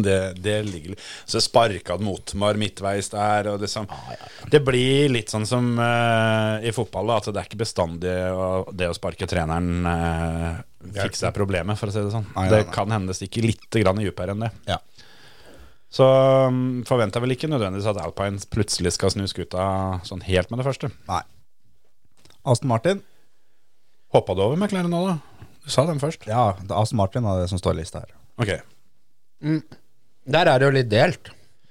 Speaker 3: det, det ligger litt Så sparka den motmar midtveis der, og liksom
Speaker 4: Ah,
Speaker 3: Det blir litt sånn som eh, i fotball, da, at det er ikke bestandig å, det å sparke treneren eh, fikser problemet, for å si det sånn.
Speaker 4: Nei, nei,
Speaker 3: det
Speaker 4: nei.
Speaker 3: kan hende det stikker litt grann dypere enn det.
Speaker 4: Ja.
Speaker 3: Så um, forventa vel ikke nødvendigvis at Alpine plutselig skal snu skuta sånn helt med det første.
Speaker 4: Nei. Aston Martin?
Speaker 3: Hoppa du over McLaren nå, da? Du sa den først.
Speaker 4: Ja, det er Aston Martin er det som står i lista her.
Speaker 3: Ok.
Speaker 5: Der er det jo litt delt.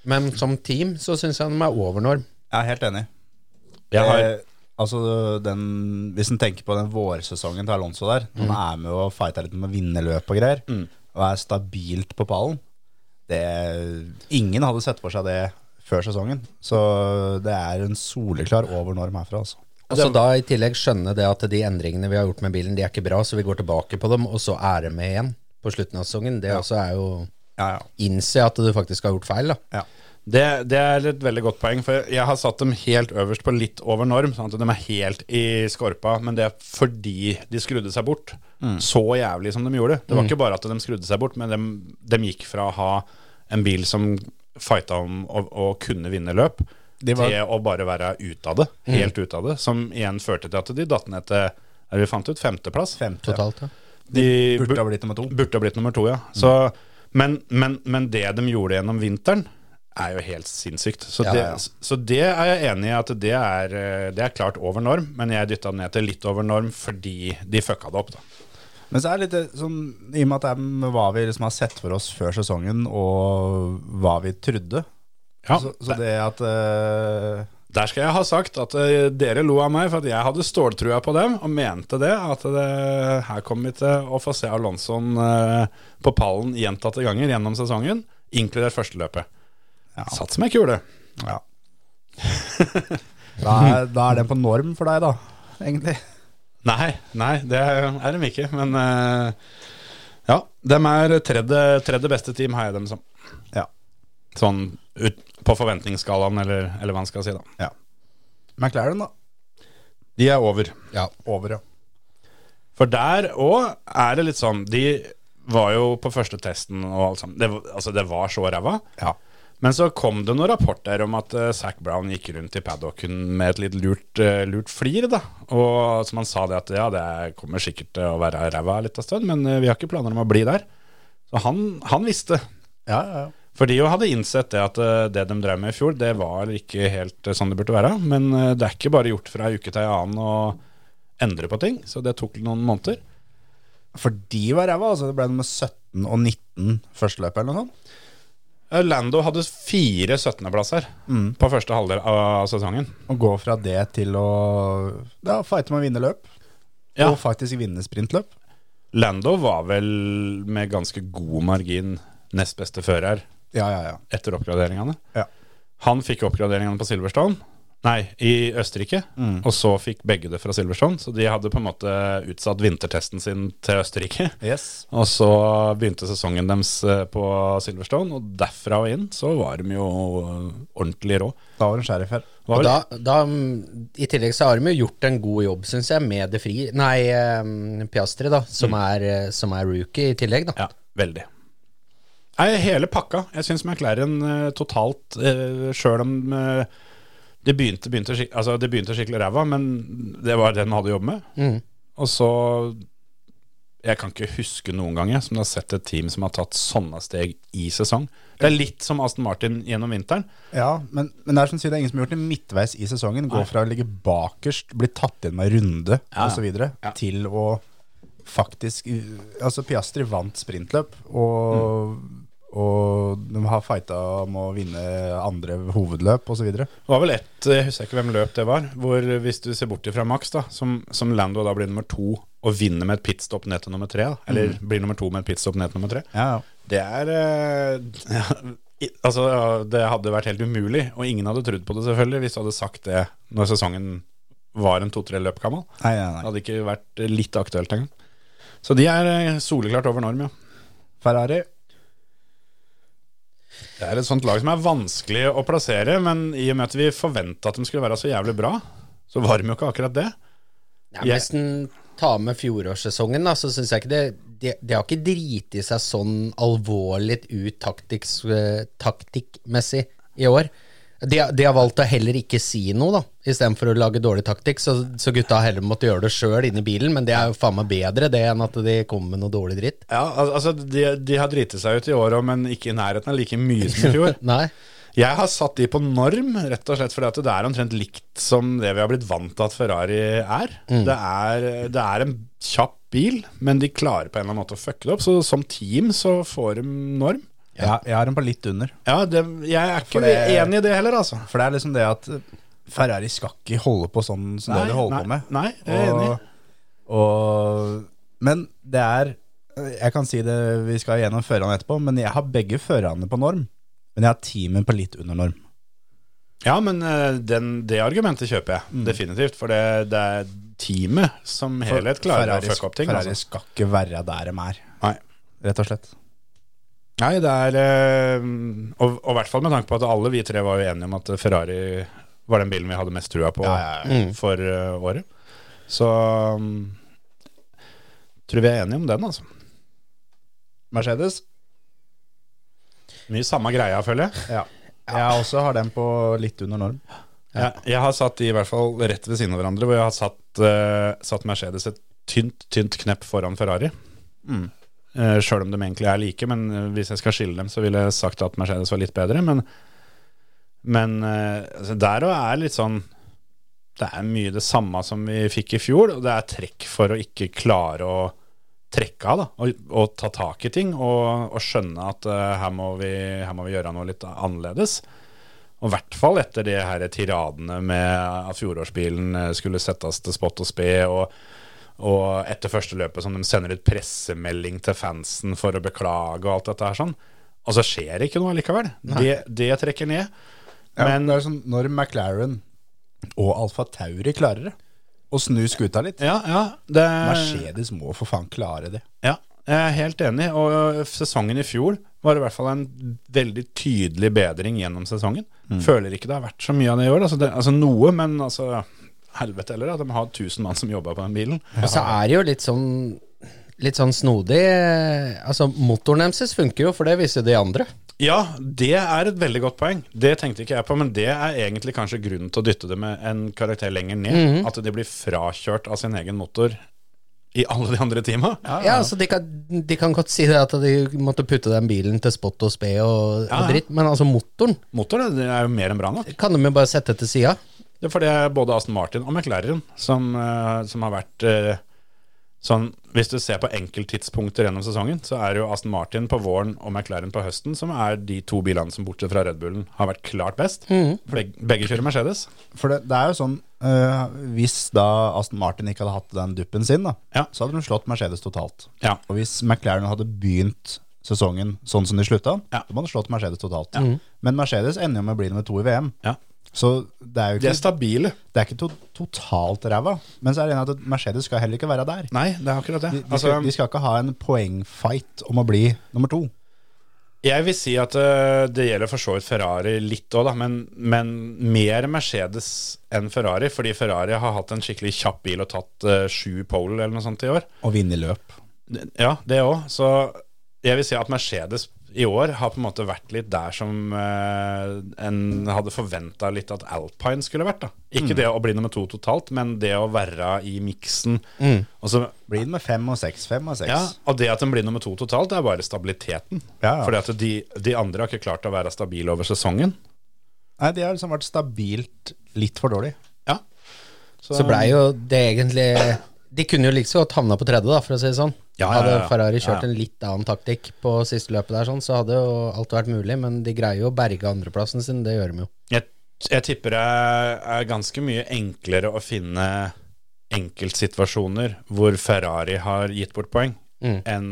Speaker 5: Men som team så syns jeg de er over norm.
Speaker 4: Jeg er helt enig.
Speaker 3: Jeg har,
Speaker 4: Eh, altså, den, Mm, hvis en tenker på den vårsesongen til Alonso der,
Speaker 3: Mm.
Speaker 4: når han er med og fighter litt med å vinne løp og greier, og er stabilt på pallen det, Ingen hadde sett for seg det før sesongen. Så det er en soleklar overnorm herfra, altså.
Speaker 5: Og så da i tillegg skjønne det at de endringene vi har gjort med bilen, de er ikke bra, så vi går tilbake på dem, og så er de med igjen på slutten av sesongen. Det også er jo
Speaker 4: Ja, ja.
Speaker 5: Innse at du faktisk har gjort feil, da.
Speaker 4: Ja.
Speaker 3: det, det er et veldig godt poeng, for jeg har satt dem helt øverst på litt over norm. Sånn at de er helt i skorpa, men det er fordi de skrudde seg bort
Speaker 4: Mm.
Speaker 3: så jævlig som de gjorde. Det var ikke bare at de skrudde seg bort, men de, de gikk fra å ha en bil som fighta om å, å kunne vinne løp,
Speaker 4: De var-
Speaker 3: til
Speaker 4: Mm.
Speaker 3: å bare være ute av det. Helt ute av det. Som igjen førte til at de datt ned til er det vi fant ut, femteplass.
Speaker 4: Femte.
Speaker 5: Totalt, ja.
Speaker 3: De
Speaker 4: Burde ha blitt nummer to. Mm.
Speaker 3: Burde ha blitt nummer to, ja. Så, men, men, men det de gjorde gjennom vinteren, er jo helt sinnssykt. Så,
Speaker 5: Ja,
Speaker 3: det,
Speaker 5: ja.
Speaker 3: så det er jeg enig i at det er, eh, det er klart over norm, men jeg dytta ned til litt over norm fordi de fucka det opp, da.
Speaker 4: Men så er det litt eh, sånn, i og med at det er med hva vi liksom har sett for oss før sesongen, og hva vi trodde,
Speaker 3: Ja,
Speaker 4: så, så det at eh,
Speaker 3: Der skal jeg ha sagt at eh, dere lo av meg for at jeg hadde ståltrua på dem, og mente det. At det, her kommer vi til å få se Alonson eh, på pallen gjentatte ganger gjennom sesongen, inkludert førsteløpet.
Speaker 4: Ja.
Speaker 3: Satt som ei kule.
Speaker 4: Ja. da, er, da er den på norm for deg, da, egentlig.
Speaker 3: Nei, nei, det er de ikke. Men eh, ja, de er tredje, tredje beste team, har jeg dem som.
Speaker 4: Ja.
Speaker 3: Sånn ut, på forventningsskalaen, eller, eller hva man skal si, da.
Speaker 4: ja. McLaren, da.
Speaker 3: De er over.
Speaker 4: Over, ja.
Speaker 3: For der òg er det litt sånn De var jo på første testen og alt sammen. Det, var- altså, det var så ræva.
Speaker 4: Ja.
Speaker 3: Men så kom det noen rapporter om at eh, Zac Brown gikk rundt i paddocken med et litt lurt, eh, lurt flir. da. Og som han sa det at ja, det kommer sikkert til å være ræva litt av stund, men eh, vi har ikke planer om å bli der. Så han, han visste.
Speaker 4: Ja, ja, ja.
Speaker 3: For de jo hadde innsett det at eh, det de drev med i fjor, det var ikke helt eh, sånn det burde være. Men eh, det er ikke bare gjort fra ei uke til ei annen å endre på ting, så det tok noen måneder.
Speaker 4: For de var ræva, altså. Det ble nummer 17 og 19 førsteløpet eller noe sånt.
Speaker 3: Eh, Lando hadde fire 17.-plasser på første halvdel av sesongen.
Speaker 4: Å gå fra det til å ja, fighte med å vinne løp,
Speaker 3: Ja.
Speaker 4: og faktisk vinne sprintløp.
Speaker 3: Lando var vel med ganske god margin nest beste fører
Speaker 4: Ja, ja, ja.
Speaker 3: etter oppgraderingene.
Speaker 4: Ja.
Speaker 3: Han fikk oppgraderingene på Silverstone, nei, i Østerrike, og så fikk begge det fra Silverstone, så de hadde på en måte utsatt vintertesten sin til Østerrike.
Speaker 4: Yes.
Speaker 3: Og så begynte sesongen deres eh, på Silverstone, og derfra og inn så var de jo eh, ordentlig rå.
Speaker 4: Da var det en sheriff her.
Speaker 3: Var
Speaker 5: Og
Speaker 3: vel-
Speaker 5: da, da, mm, I tillegg så har de jo gjort en god jobb, syns jeg, med det fri Nei, Mm. eh, Piastri, da, som, er, eh, som er rookie i tillegg, da.
Speaker 3: Ja, veldig. Nei, hele pakka. Jeg syns McLaren eh, totalt, uh, sjøl om eh, det, begynte, begynte skik altså, det begynte skikkelig ræva, men det var det den hadde å jobbe med. Og så Jeg kan ikke huske noen gang jeg, som har sett et team som har tatt sånne steg i sesong. Det er litt som Aston Martin gjennom vinteren.
Speaker 4: Ja, men, men det er som du sier, det er ingen som har gjort det midtveis i sesongen. Gå fra å ligge bakerst, bli tatt igjen med runde
Speaker 3: Ja,
Speaker 4: osv., videre,
Speaker 3: ja.
Speaker 4: til å faktisk Altså, Piastri vant sprintløp, og,
Speaker 3: Mm.
Speaker 4: og de har fighta om å vinne andre hovedløp osv.
Speaker 3: Det var vel ett, jeg husker ikke hvem løp det var, hvor hvis du ser bort fra Max, da, som, som Lando da blir nummer to og vinner med et pitstop ned til nummer tre, da, eller
Speaker 4: Mm.
Speaker 3: blir nummer to med et pitstop ned til nummer tre,
Speaker 4: Ja, ja.
Speaker 3: det er eh, ja, i- Altså, ja, det hadde vært helt umulig, og ingen hadde trodd på det, selvfølgelig, hvis du hadde sagt det når sesongen var en to-tre løp gammel.
Speaker 4: Nei, nei,
Speaker 3: Det
Speaker 4: nei.
Speaker 3: hadde ikke vært litt aktuelt engang. Så de er eh, soleklart over norm, ja.
Speaker 4: Ferrari.
Speaker 3: Det er et sånt lag som er vanskelig å plassere, men i og med at vi forventa at de skulle være så jævlig bra, så var de jo ikke akkurat det.
Speaker 5: Ja, men Hvis en tar med fjorårssesongen, da, så syns jeg ikke det De, de har ikke driti seg sånn alvorlig ut taktiks, eh, taktikkmessig i år. De, har- de har valgt å heller ikke si noe, da, istedenfor å lage dårlig taktikk. Så, så gutta har heller måttet gjøre det sjøl inni bilen, men det er jo faen meg bedre det enn at de kommer med noe dårlig dritt.
Speaker 3: Ja, al- altså De, de har driti seg ut i år òg, men ikke i nærheten av like mye som i fjor.
Speaker 5: Nei.
Speaker 3: Jeg har satt de på norm, rett og slett fordi at det er omtrent likt som det vi har blitt vant til at Ferrari er.
Speaker 4: Mm.
Speaker 3: Det, er. det er en kjapp bil, men de klarer på en eller annen måte å fucke det opp. Så som team så får de norm.
Speaker 4: Jeg, jeg har dem på litt under.
Speaker 3: Ja, det, jeg er ikke
Speaker 4: For det-
Speaker 3: enig i det heller, altså.
Speaker 4: For det er liksom det at Ferrari skal ikke holde på sånn som
Speaker 3: Nei,
Speaker 4: det de holder
Speaker 3: nei,
Speaker 4: på med.
Speaker 3: nei, jeg er enig.
Speaker 4: Og, men det er Jeg kan si det, vi skal gjennom førerne etterpå, men jeg har begge førerne på norm. Men jeg har teamet på litt under norm.
Speaker 3: Ja, men eh, den, det argumentet kjøper jeg
Speaker 4: Mm.
Speaker 3: definitivt. For det, det er teamet som helhet klarer å fucke opp ting.
Speaker 4: Ferrari
Speaker 3: Altså.
Speaker 4: skal ikke være der de er,
Speaker 3: Nei.
Speaker 4: rett og slett.
Speaker 3: Nei, det er eh, Og og i hvert fall med tanke på at alle vi tre var jo enige om at Ferrari var den bilen vi hadde mest trua på
Speaker 4: Ja, ja,
Speaker 3: for eh, året. Så mm, tror vi er enige om den, altså.
Speaker 4: Mercedes?
Speaker 3: Mye samme greia, føler jeg.
Speaker 4: Ja. Jeg også har den på litt under norm.
Speaker 3: Jeg, jeg har satt de i hvert fall rett ved siden av hverandre, hvor jeg har satt, eh, satt Mercedes et tynt, tynt knepp foran Ferrari. Uh, Sjøl om de egentlig er like, men eh, hvis jeg skal skille dem, så ville jeg sagt at Mercedes var litt bedre. Men, men eh, altså, der òg er litt sånn Det er mye det samme som vi fikk i fjor, og det er trekk for å ikke klare å trekke av, da, og, og ta tak i ting og, og skjønne at eh, her, må vi, her må vi gjøre noe litt annerledes. Og i hvert fall etter de her tiradene med at fjorårsbilen eh, skulle settes til spott og spe, og, og etter første løpet som de sender ut pressemelding til fansen for å beklage og alt dette her sånn. Og så skjer det ikke noe allikevel. Det, det trekker ned.
Speaker 4: Men
Speaker 3: Men
Speaker 4: det er sånn, når McLaren og Alfa Tauri klarer det, å snu skuta litt
Speaker 3: ja, ja, det,
Speaker 4: Mercedes må for faen klare det.
Speaker 3: Ja, jeg er helt enig. Og øh, sesongen i fjor var i hvert fall en veldig tydelig bedring gjennom sesongen.
Speaker 4: Mm.
Speaker 3: Føler ikke det har vært så mye av det i år. Altså, det, altså noe, men altså Helvete heller, at de har 1000 mann som jobber på den bilen.
Speaker 5: Og så er det jo litt sånn Litt sånn snodig Altså, motoren deres funker jo, for det viser jo de andre.
Speaker 3: Ja, det er et veldig godt poeng. Det tenkte ikke jeg på, men det er egentlig kanskje grunnen til å dytte det med en karakter lenger ned.
Speaker 4: Mhm.
Speaker 3: At de blir frakjørt av sin egen motor i alle de andre teama.
Speaker 5: Ja, altså de kan, de kan godt si det at de måtte putte den bilen til spott og spe
Speaker 3: Ja,
Speaker 5: og,
Speaker 3: ja.
Speaker 5: og dritt, men altså motoren
Speaker 3: Motor det er jo mer enn bra nok.
Speaker 5: kan de jo bare sette til sida.
Speaker 3: Det er fordi både Aston Martin og McLaren som, eh, som har vært eh, sånn Hvis du ser på enkelttidspunkter gjennom sesongen, så er det jo Aston Martin på våren og McLaren på høsten som er de to bilene som bortsett fra Red Bullen har vært klart best.
Speaker 4: Mhm.
Speaker 3: For de- begge kjører Mercedes.
Speaker 4: For det, det er jo sånn øh, Hvis da Aston Martin ikke hadde hatt den duppen sin, da,
Speaker 3: Ja.
Speaker 4: så hadde de slått Mercedes totalt.
Speaker 3: Ja.
Speaker 4: Og hvis McLaren hadde begynt sesongen sånn som de slutta,
Speaker 3: Ja.
Speaker 4: så hadde de slått Mercedes totalt. Men Mercedes ender jo med å bli nummer to i VM.
Speaker 3: Ja.
Speaker 4: Så det er jo
Speaker 3: De er
Speaker 4: ikke,
Speaker 3: stabile.
Speaker 4: det er ikke to, totalt ræva. Men så er det en at Mercedes skal heller ikke være der.
Speaker 3: Nei, det er akkurat det.
Speaker 4: De, de,
Speaker 3: Altså,
Speaker 4: skal, de skal ikke ha en poengfight om å bli nummer to.
Speaker 3: Jeg vil si at eh, det gjelder for så vidt Ferrari litt òg, da, men, men mer Mercedes enn Ferrari. Fordi Ferrari har hatt en skikkelig kjapp bil og tatt eh, sju pole eller noe sånt i år.
Speaker 4: Og vinne løp.
Speaker 3: Ja, det òg. Så jeg vil si at Mercedes i år har på en måte vært litt der som eh, en hadde forventa litt at alpine skulle vært. da. Ikke det å bli nummer to totalt, men det å være i miksen. Og så
Speaker 4: Blir det med fem og seks, fem og seks.
Speaker 3: ja, og det at den blir nummer to totalt, det er bare stabiliteten.
Speaker 4: Ja, ja.
Speaker 3: Fordi at de, de andre har ikke klart å være stabile over sesongen.
Speaker 4: Nei, de har liksom vært stabilt litt for dårlig.
Speaker 3: Ja.
Speaker 5: Så blei jo det egentlig De kunne jo like så godt havna på tredje, da, for å si det sånn.
Speaker 3: Ja, ja, ja, ja.
Speaker 5: Hadde Ferrari kjørt
Speaker 3: Ja, ja.
Speaker 5: en litt annen taktikk på siste løpet der, sånn, så hadde jo alt vært mulig, men de greier jo å berge andreplassen sin, det gjør de jo.
Speaker 3: Jeg, jeg tipper det er ganske mye enklere å finne enkeltsituasjoner hvor Ferrari har gitt bort poeng, enn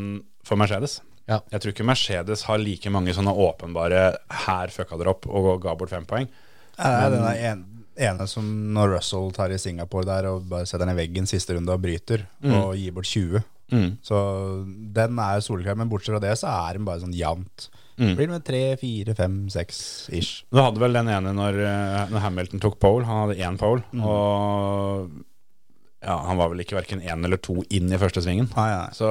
Speaker 3: for Mercedes.
Speaker 5: Ja.
Speaker 3: Jeg tror ikke Mercedes har like mange sånne åpenbare 'her fucka dere opp' og ga bort fem poeng.
Speaker 4: Nei, den er en, ene som når Russell tar i Singapore der og bare setter den i veggen siste runde og bryter, og gir bort 20. Så den er jo soleklar, men bortsett fra det så er den bare sånn jevnt. Blir det med tre, fire, fem, seks ish.
Speaker 3: Du hadde vel den ene når, eh, når Hamilton tok pole. Han hadde én pole. Og ja, han var vel ikke verken én eller to inn i første svingen.
Speaker 4: Nei, nei.
Speaker 3: Så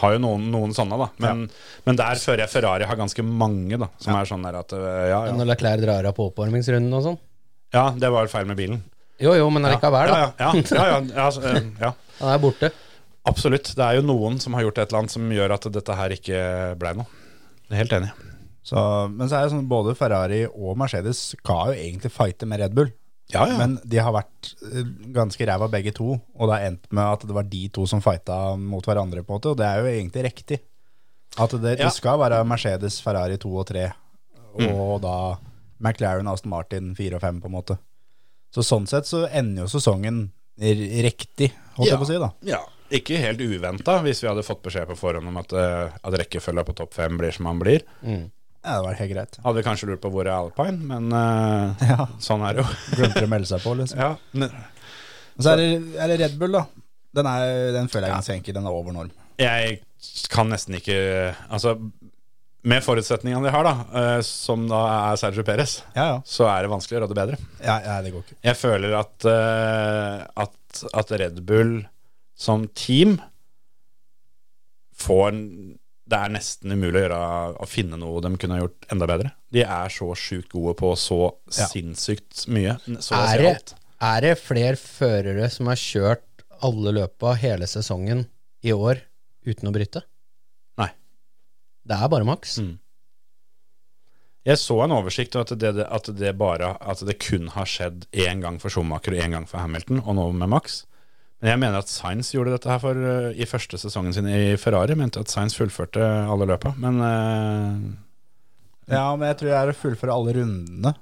Speaker 3: har jo noen, noen sånne, da. Men, men der føler jeg Ferrari har ganske mange, da. Som er sånn der at eh, ja, ja.
Speaker 5: Når Leclerc drar av på oppvarmingsrunden og sånn.
Speaker 3: ja, det var feil med bilen.
Speaker 5: Jo, jo, men allikevel, da.
Speaker 3: Ja, ja, ja, ja, ja, ja, altså, eh, ja.
Speaker 5: Han er borte.
Speaker 3: Absolutt. Det er jo noen som har gjort et eller annet som gjør at dette her ikke blei noe. Jeg er Helt enig.
Speaker 4: Så, men så er det sånn både Ferrari og Mercedes skal jo egentlig fighte med Red Bull.
Speaker 3: Ja, ja.
Speaker 4: Men de har vært eh, ganske ræva begge to, og det har endt med at det var de to som fighta mot hverandre, på en måte, og det er jo egentlig riktig. At det,
Speaker 3: Ja.
Speaker 4: det skal være Mercedes, Ferrari 2 og 3,
Speaker 3: Mm.
Speaker 4: og da McLaren, Aston Martin 4 og 5, på en måte. Så sånn sett så ender jo sesongen r- riktig, holdt jeg på å si, da.
Speaker 3: Ja, ikke helt uventa, hvis vi hadde fått beskjed på forhånd om at, eh, at rekkefølga på topp fem blir som han blir.
Speaker 4: Ja, det var helt greit.
Speaker 3: Hadde vi kanskje lurt på hvor er alpine, men eh,
Speaker 4: Ja.
Speaker 3: sånn er det jo.
Speaker 4: Glemte å melde seg på, liksom.
Speaker 3: ja, men
Speaker 4: Men Så er det, er det Red Bull, da. Den, er, den føler jeg ganske enkel. Den er over norm.
Speaker 3: jeg kan nesten ikke Altså, med forutsetningene de har, da, eh, som da er Sergio Perez,
Speaker 4: Ja, ja.
Speaker 3: så er det vanskelig å råde bedre.
Speaker 4: Ja, ja, det går ikke.
Speaker 3: Jeg føler at, eh, at, at Red Bull som team får en- Det er nesten umulig å, gjøre, å finne noe de kunne ha gjort enda bedre. De er så sjukt gode på så
Speaker 4: Ja.
Speaker 3: sinnssykt mye. Så å
Speaker 5: Er
Speaker 3: si
Speaker 5: det,
Speaker 3: alt.
Speaker 5: er det flere førere som har kjørt alle løpa hele sesongen i år uten å bryte?
Speaker 3: Nei.
Speaker 5: Det er bare maks.
Speaker 3: Mm, Jeg så en oversikt og at det, at det bare At det kun har skjedd én gang for Schumacher og én gang for Hamilton, og nå med Max. Men jeg mener at Sainz gjorde dette her for, eh, i første sesongen sin i Ferrari. Mente at Sainz fullførte alle løpa, men eh,
Speaker 4: Ja, men jeg tror jeg er å fullføre alle rundene.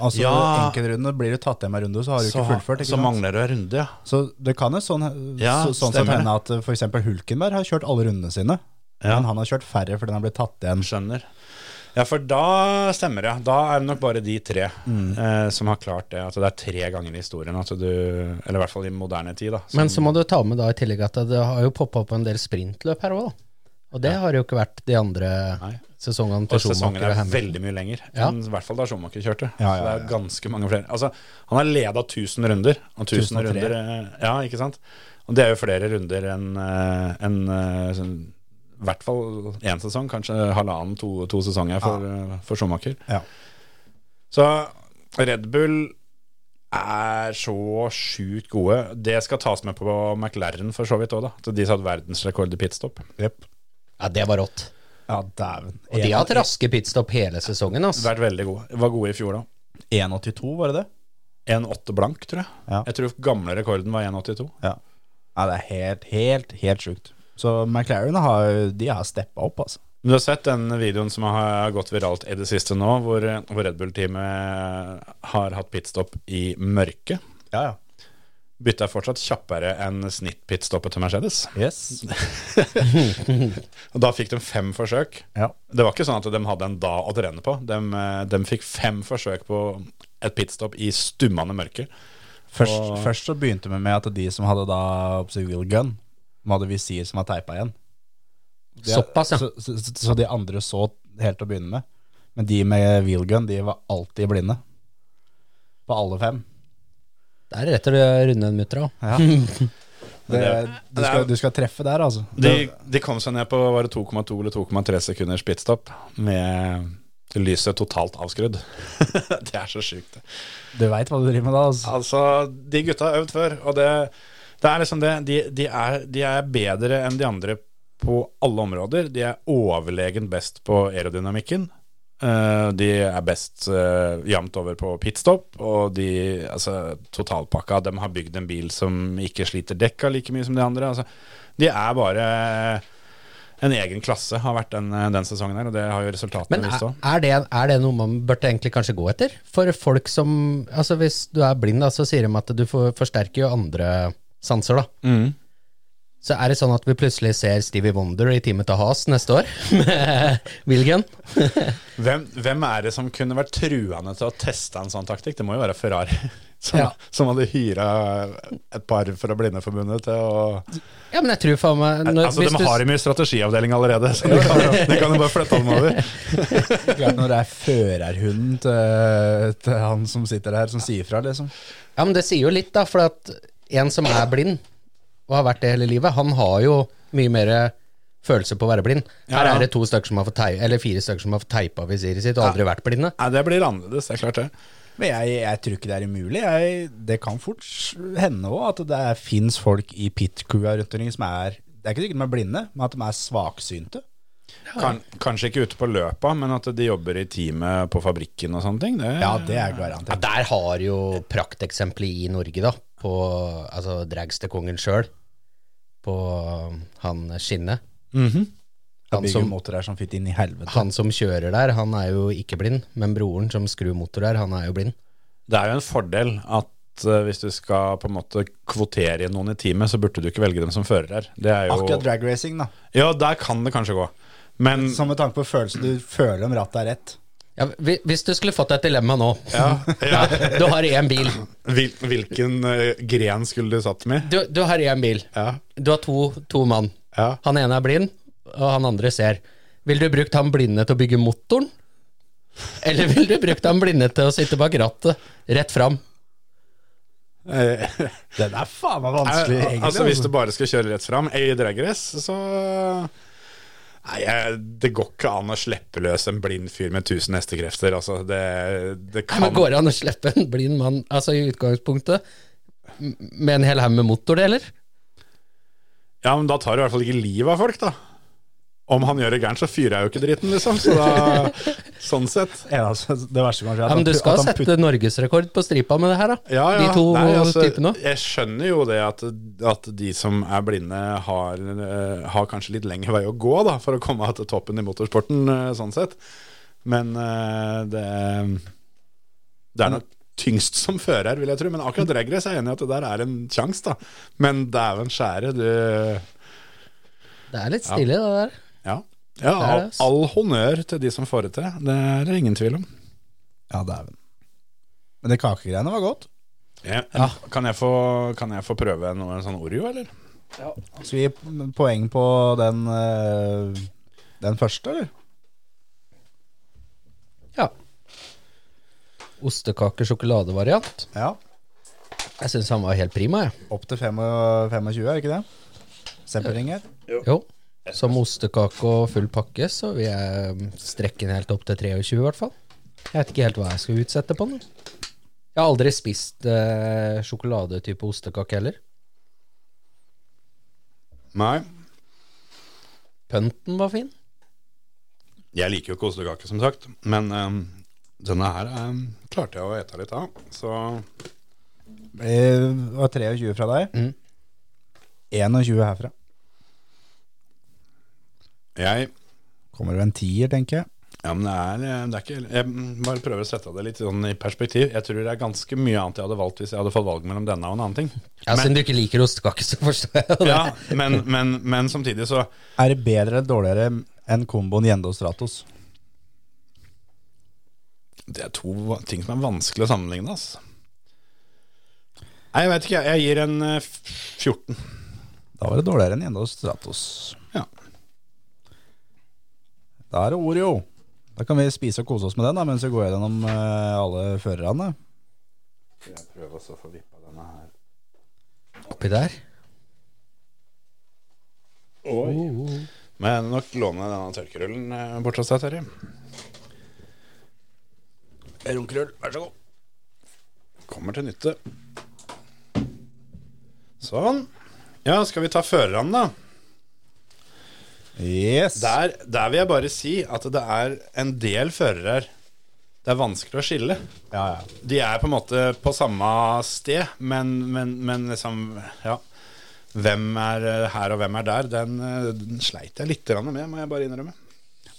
Speaker 4: Altså
Speaker 3: Ja.
Speaker 4: enkeltrunde. Blir du tatt hjem en runde, så har du ikke fullført. Ikke
Speaker 3: så
Speaker 4: sant?
Speaker 3: mangler det en runde, ja.
Speaker 4: så det kan jo sånn,
Speaker 3: Ja,
Speaker 4: så, sånn sett
Speaker 3: stemmer
Speaker 4: hende at f.eks. Hulkenberg har kjørt alle rundene sine.
Speaker 3: Ja.
Speaker 4: Men han har kjørt færre fordi han har blitt tatt igjen.
Speaker 3: Skjønner. Ja, for da stemmer det. Da er det nok bare de tre
Speaker 4: Mm.
Speaker 3: eh, som har klart det. At det er tre ganger i historien at du Eller i hvert fall i moderne tid, da. som-
Speaker 5: Men så må du ta med da i tillegg at det har jo poppa opp en del sprintløp her òg, da. Og det har jo ikke vært de andre
Speaker 3: Nei.
Speaker 5: sesongene
Speaker 3: og
Speaker 5: til
Speaker 3: sesongen
Speaker 5: Schumacher
Speaker 3: er
Speaker 5: og Hamilton.
Speaker 3: veldig mye lenger.
Speaker 5: Ja.
Speaker 3: Enn, I hvert fall da Schumacher kjørte.
Speaker 4: Ja,
Speaker 3: Så
Speaker 4: ja,
Speaker 3: det er ganske mange flere. Altså, han har leda 1000 runder. Og 1000
Speaker 4: 1003.
Speaker 3: runder eh, Ja, ikke sant? Og det er jo flere runder enn eh, enn, eh, sånn, i hvert fall én sesong, kanskje halvannen, to, to sesonger for, eh, for Schumacher.
Speaker 4: Ja.
Speaker 3: Så Red Bull er så sjukt gode. Det skal tas med på McLaren for så vidt òg, da. At de satt verdensrekord i pitstop.
Speaker 5: Ja, det var rått.
Speaker 4: Ja, dæven.
Speaker 5: Og de har hatt raske pitstop hele sesongen, altså.
Speaker 3: Vært veldig gode. Var gode i fjor, da.
Speaker 4: 1,82, var det det?
Speaker 3: 1,8 blank, tror jeg.
Speaker 4: Ja.
Speaker 3: Jeg tror gamle rekorden var 1,82.
Speaker 4: Ja. ja, det er helt, helt, helt sjukt. Så McLaren har, de har steppa opp, altså.
Speaker 3: Men du har sett den videoen som har gått viralt i det siste nå, hvor, hvor Red Bull-teamet har hatt pitstop i mørket.
Speaker 4: Ja, ja.
Speaker 3: Bytta fortsatt kjappere enn snittpitstoppet til Mercedes.
Speaker 4: Yes.
Speaker 3: Og da fikk de fem forsøk.
Speaker 4: Ja.
Speaker 3: Det var ikke sånn at de hadde en dag å trene på. De, eh, de fikk fem forsøk på et pitstop i stummende mørke.
Speaker 4: Først, først så begynte vi med at de som hadde da oppsett wheel gun, de hadde visir som var teipa igjen. De-
Speaker 5: Såpass, ja.
Speaker 4: Så, så, så- så de andre så helt til å begynne med. Men de med wheel gun, de var alltid blinde. På alle fem.
Speaker 5: Det er rett og slett å runde en mutter òg.
Speaker 4: Ja. Det, du, skal, du skal treffe der, altså.
Speaker 3: De,
Speaker 4: Det-
Speaker 3: de kom seg ned på var det 2,2 eller 2,3 sekunders pitstop med lyset totalt avskrudd. det er så sjukt. det.
Speaker 4: Du veit hva du driver med da, altså.
Speaker 3: Altså, de gutta har øvd før, og det, det er liksom det. De, de, er, de er bedre enn de andre på alle områder. De er overlegen best på aerodynamikken. Eh, de er best uh, jevnt over på pitstop, og de altså, totalpakka. De har bygd en bil som ikke sliter dekka like mye som de andre. Altså, de er bare eh, en egen klasse, har vært den, den sesongen her, og det har jo resultatene
Speaker 5: Men
Speaker 3: vist
Speaker 5: er,
Speaker 3: òg.
Speaker 5: er, det, er det noe man burde egentlig kanskje gå etter? For folk som Altså Hvis du er blind, da, så sier de at du får, forsterker jo andre sanser, da.
Speaker 3: Mm.
Speaker 5: Så er det sånn at vi plutselig ser Stevie Wonder i teamet til Has neste år? Med Wilgen?
Speaker 3: Hvem, hvem er det som kunne vært truende til å teste en sånn taktikk? Det må jo være Ferrari, som,
Speaker 4: Ja.
Speaker 3: som hadde hyra et par fra Blindeforbundet til å
Speaker 5: Ja, men jeg tror faen meg når,
Speaker 3: Altså,
Speaker 5: hvis
Speaker 3: De
Speaker 5: du-
Speaker 3: har dem i strategiavdeling allerede, så de kan, jo- de kan jo bare flytte dem over.
Speaker 4: Klart når det er førerhunden til, til han som sitter her, som sier fra, liksom.
Speaker 5: Ja, men det sier jo litt, da. For at en som er blind, og har vært det hele livet, han har jo mye mer følelse på å være blind.
Speaker 3: Ja,
Speaker 5: Her
Speaker 3: ja.
Speaker 5: er det to stykker som har fått tei, eller fire stykker som har fått teipa visiret sitt og aldri vært blinde.
Speaker 3: Nei, det blir annerledes, det er klart det.
Speaker 4: Men jeg, jeg tror ikke det er umulig. Jeg, det kan fort hende òg at det fins folk i pit-crewa rundt omkring som er Det er ikke sikkert de er blinde, men at de er svaksynte.
Speaker 3: Kan, kanskje ikke ute på løpa, men at de jobber i teamet på fabrikken og sånne ting. Det,
Speaker 4: Ja, det er
Speaker 5: Ja,
Speaker 4: garantert.
Speaker 5: der har jo prakteksempelet i Norge, da, på altså, dragsterkongen sjøl, på um, han Skinne.
Speaker 4: Han
Speaker 5: som-
Speaker 4: som motor her som fytti inn i helvete.
Speaker 5: Han som kjører der, han er jo ikke blind, men broren som skrur motor der, han er jo blind.
Speaker 3: det er jo en fordel at eh, hvis du skal på en måte kvotere inn noen i teamet, så burde du ikke velge dem som fører her. Det er
Speaker 4: Akkurat
Speaker 3: jo,
Speaker 4: drag racing, da.
Speaker 3: ja, der kan det kanskje gå. Men
Speaker 4: Som med tanke på følelsen du føler om rattet er rett.
Speaker 5: Ja, hvi- hvis du skulle fått deg et dilemma nå
Speaker 3: Ja, ja.
Speaker 5: Du har én bil.
Speaker 3: Hvil, hvilken eh, gren skulle du satt med?
Speaker 5: Du, du har én bil.
Speaker 3: Ja.
Speaker 5: Du har to, to mann.
Speaker 3: Ja.
Speaker 5: Han ene er blind, og han andre ser. Vil du brukt han blinde til å bygge motoren? Eller vil du brukt han blinde til å sitte bak rattet, rett fram?
Speaker 3: Eh,
Speaker 4: Den er faen meg
Speaker 5: Eh,
Speaker 4: vanskelig, egentlig.
Speaker 3: altså, hvis du
Speaker 4: altså.
Speaker 3: bare skal kjøre rett fram i dragrace, så Nei, jeg, det går ikke an å slippe løs en blind fyr med 1000 hestekrefter. Altså, det, det
Speaker 5: Nei,
Speaker 3: kan
Speaker 5: men Går det an å slippe en blind mann altså i utgangspunktet m- med en hel haug med motordeler?
Speaker 3: Ja, men da tar du i hvert fall ikke livet av folk, da. Om han gjør det gærent, så fyrer jeg jo ikke dritten, liksom. Så da, sånn sett.
Speaker 4: Ja, altså, det verste kan skje,
Speaker 5: Ja,
Speaker 4: at
Speaker 5: men Du
Speaker 4: han-
Speaker 5: skal
Speaker 4: at han
Speaker 5: sette norgesrekord på stripa med det her, da.
Speaker 3: Ja, ja.
Speaker 5: De to
Speaker 3: Nei, altså,
Speaker 5: typene.
Speaker 3: Jeg skjønner jo det at, at de som er blinde, har, eh, har kanskje litt lengre vei å gå da, for å komme til toppen i motorsporten, eh, sånn sett. Men eh, det, det er nok tyngst som fører, vil jeg tro. Men akkurat dragrace er jeg enig i at det der er en sjanse, da. Men dæven skjære, du
Speaker 5: Det er litt stilig, det der.
Speaker 3: Ja. ja
Speaker 5: er
Speaker 3: all,
Speaker 5: det, ass.
Speaker 3: all honnør til de som får det til. Det er det ingen tvil om.
Speaker 4: Ja, dæven. Men det kakegreiene var godt.
Speaker 3: Ja. Kan, jeg få, kan jeg få prøve noe, en sånn Oreo, eller?
Speaker 4: Skal vi gi poeng på den, eh, den første, eller?
Speaker 5: Ja. Ostekake-sjokoladevariant.
Speaker 4: Ja.
Speaker 5: Jeg syns han var helt prima, jeg.
Speaker 4: Opp til fem og- 25, er det ikke det? Semperinger.
Speaker 5: Jo. Som ostekake og full pakke, så vil jeg um, strekke den helt opp til 23, i hvert fall. Jeg vet ikke helt hva jeg skal utsette på den. Jeg har aldri spist eh, sjokoladetype ostekake heller.
Speaker 3: Nei.
Speaker 5: Pønten var fin.
Speaker 3: Jeg liker jo ikke ostekake, som sagt, men ehm, denne her ehm, klarte jeg å ete litt av. Så
Speaker 4: Det var 23 fra deg. 21 herfra.
Speaker 3: jeg
Speaker 4: Kommer det en tier, tenker jeg.
Speaker 3: Ja, men det er, eh, det er ikke Jeg mm, bare prøver å sette det litt sånn i perspektiv. Jeg tror det er ganske mye annet jeg hadde valgt hvis jeg hadde fått valg mellom denne og en annen ting.
Speaker 5: Ja, Siden du ikke liker ostekake, så forstår jeg det.
Speaker 3: Ja, men, men, men samtidig så
Speaker 4: Er det bedre eller dårligere enn komboen Gjende og Stratos?
Speaker 3: Det er to va- ting som er vanskelig å sammenligne, altså. Nei, jeg veit ikke, jeg. Jeg gir en eh, f- 14.
Speaker 4: Da var det dårligere enn Gjende og Stratos.
Speaker 3: Ja.
Speaker 4: Da er det Oreo. Da kan vi spise og kose oss med den da, mens vi går gjennom eh, alle førerne.
Speaker 3: Skal jeg prøve å få vippa denne her
Speaker 5: Oppi der.
Speaker 3: Men nok låne denne tørkerullen eh, bort hos deg, Terje. Runkerull, vær så god. Kommer til nytte. Sånn. Ja, skal vi ta førerne, da?
Speaker 4: Yes.
Speaker 3: Der, der vil jeg bare si at det er en del førere her. Det er vanskelig å skille.
Speaker 4: Ja, ja.
Speaker 3: De er på en måte på samme sted, men, men, men liksom Ja. Hvem er eh, her og hvem er der, den, eh, den sleit jeg litt grann med, må jeg bare innrømme.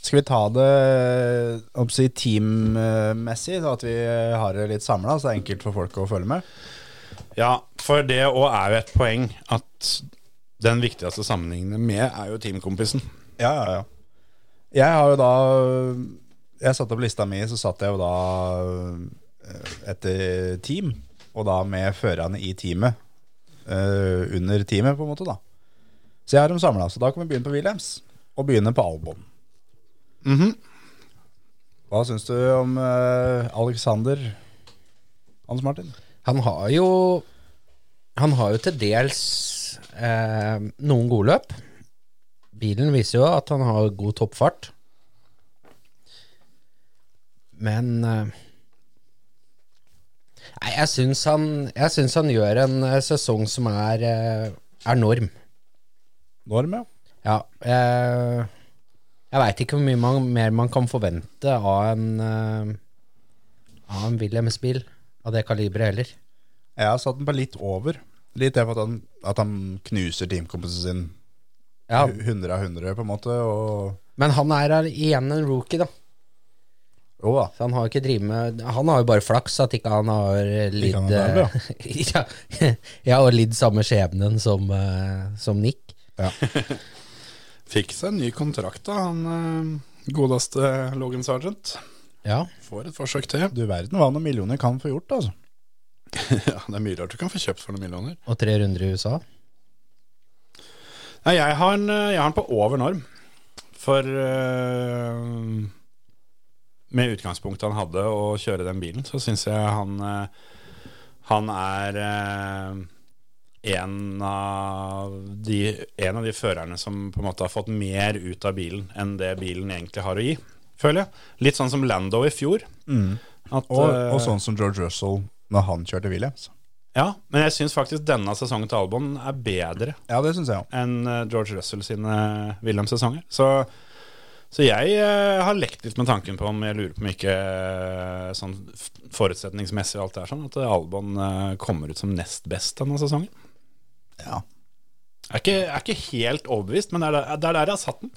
Speaker 4: Skal vi ta det om å si, teammessig, da, at vi eh, har det litt samla, så det er enkelt for folk å følge med?
Speaker 3: Ja, for det òg er jo et poeng at den viktigste sammenligningen med er jo teamkompisen.
Speaker 4: Ja, ja, ja. Jeg har jo da Jeg satte opp lista mi, så satt jeg jo da eh, etter team, og da med førerne i teamet. eh, under teamet, på en måte, da. Så jeg har dem samla, så da kan vi begynne på Williams. Og begynne på Albon. Mhm. Hva syns du om eh, Alexander Hans Martin?
Speaker 5: Han har jo Han har jo til dels eh, noen gode løp. Bilen viser jo at han har god toppfart. Men eh, Nei, jeg syns han, jeg syns han gjør en eh, sesong som er, eh, er norm.
Speaker 4: Norm, ja.
Speaker 5: Ja. Eh, jeg veit ikke hvor mye man, mer man kan forvente av en eh, Av en Wilhelms-bil av det kaliberet heller.
Speaker 4: Jeg har satt den på litt over. Litt det for at han, at han knuser teamkompisen sin
Speaker 5: Ja,
Speaker 4: 100 av 100, på en måte. Og
Speaker 5: Men han er her igjen en rookie, da.
Speaker 4: jo da.
Speaker 5: Så han har jo ikke drivet med Han har jo bare flaks at ikke han har lidd eh,
Speaker 4: han er der,
Speaker 5: ja, ja, og lidd samme skjebnen som, eh, som Nick.
Speaker 3: Fikk seg en ny kontrakt, da, han eh, godeste Logan Sergeant.
Speaker 5: Ja.
Speaker 3: Får et forsøk til.
Speaker 4: Du verden hva noen millioner kan få gjort, altså.
Speaker 3: Ja, det er mye rart du kan få kjøpt for noen millioner.
Speaker 5: Og tre runder i USA.
Speaker 3: Nei, jeg har den, jeg har den på over norm. For eh, med utgangspunktet han hadde å kjøre den bilen, så syns jeg han eh, Han er eh, en av, de, en av de førerne som på en måte har fått mer ut av bilen enn det bilen egentlig har å gi, føler jeg. Litt sånn som Lando i fjor. At,
Speaker 4: Mm. Og,
Speaker 3: eh,
Speaker 4: og sånn som George Russell når han kjørte Williams.
Speaker 3: Ja, men jeg syns faktisk denne sesongen til Albon er bedre
Speaker 4: Ja, det syns jeg òg.
Speaker 3: enn eh, George Russell sine Williams-sesonger. Så, så jeg eh, har lekt litt med tanken på om jeg lurer på om ikke eh, sånn f- forutsetningsmessig og alt det er sånn, at eh, Albon eh, kommer ut som nest best denne sesongen.
Speaker 4: Ja.
Speaker 3: Jeg er ikke, jeg er ikke helt overbevist, men det er der, det er der jeg har satt den.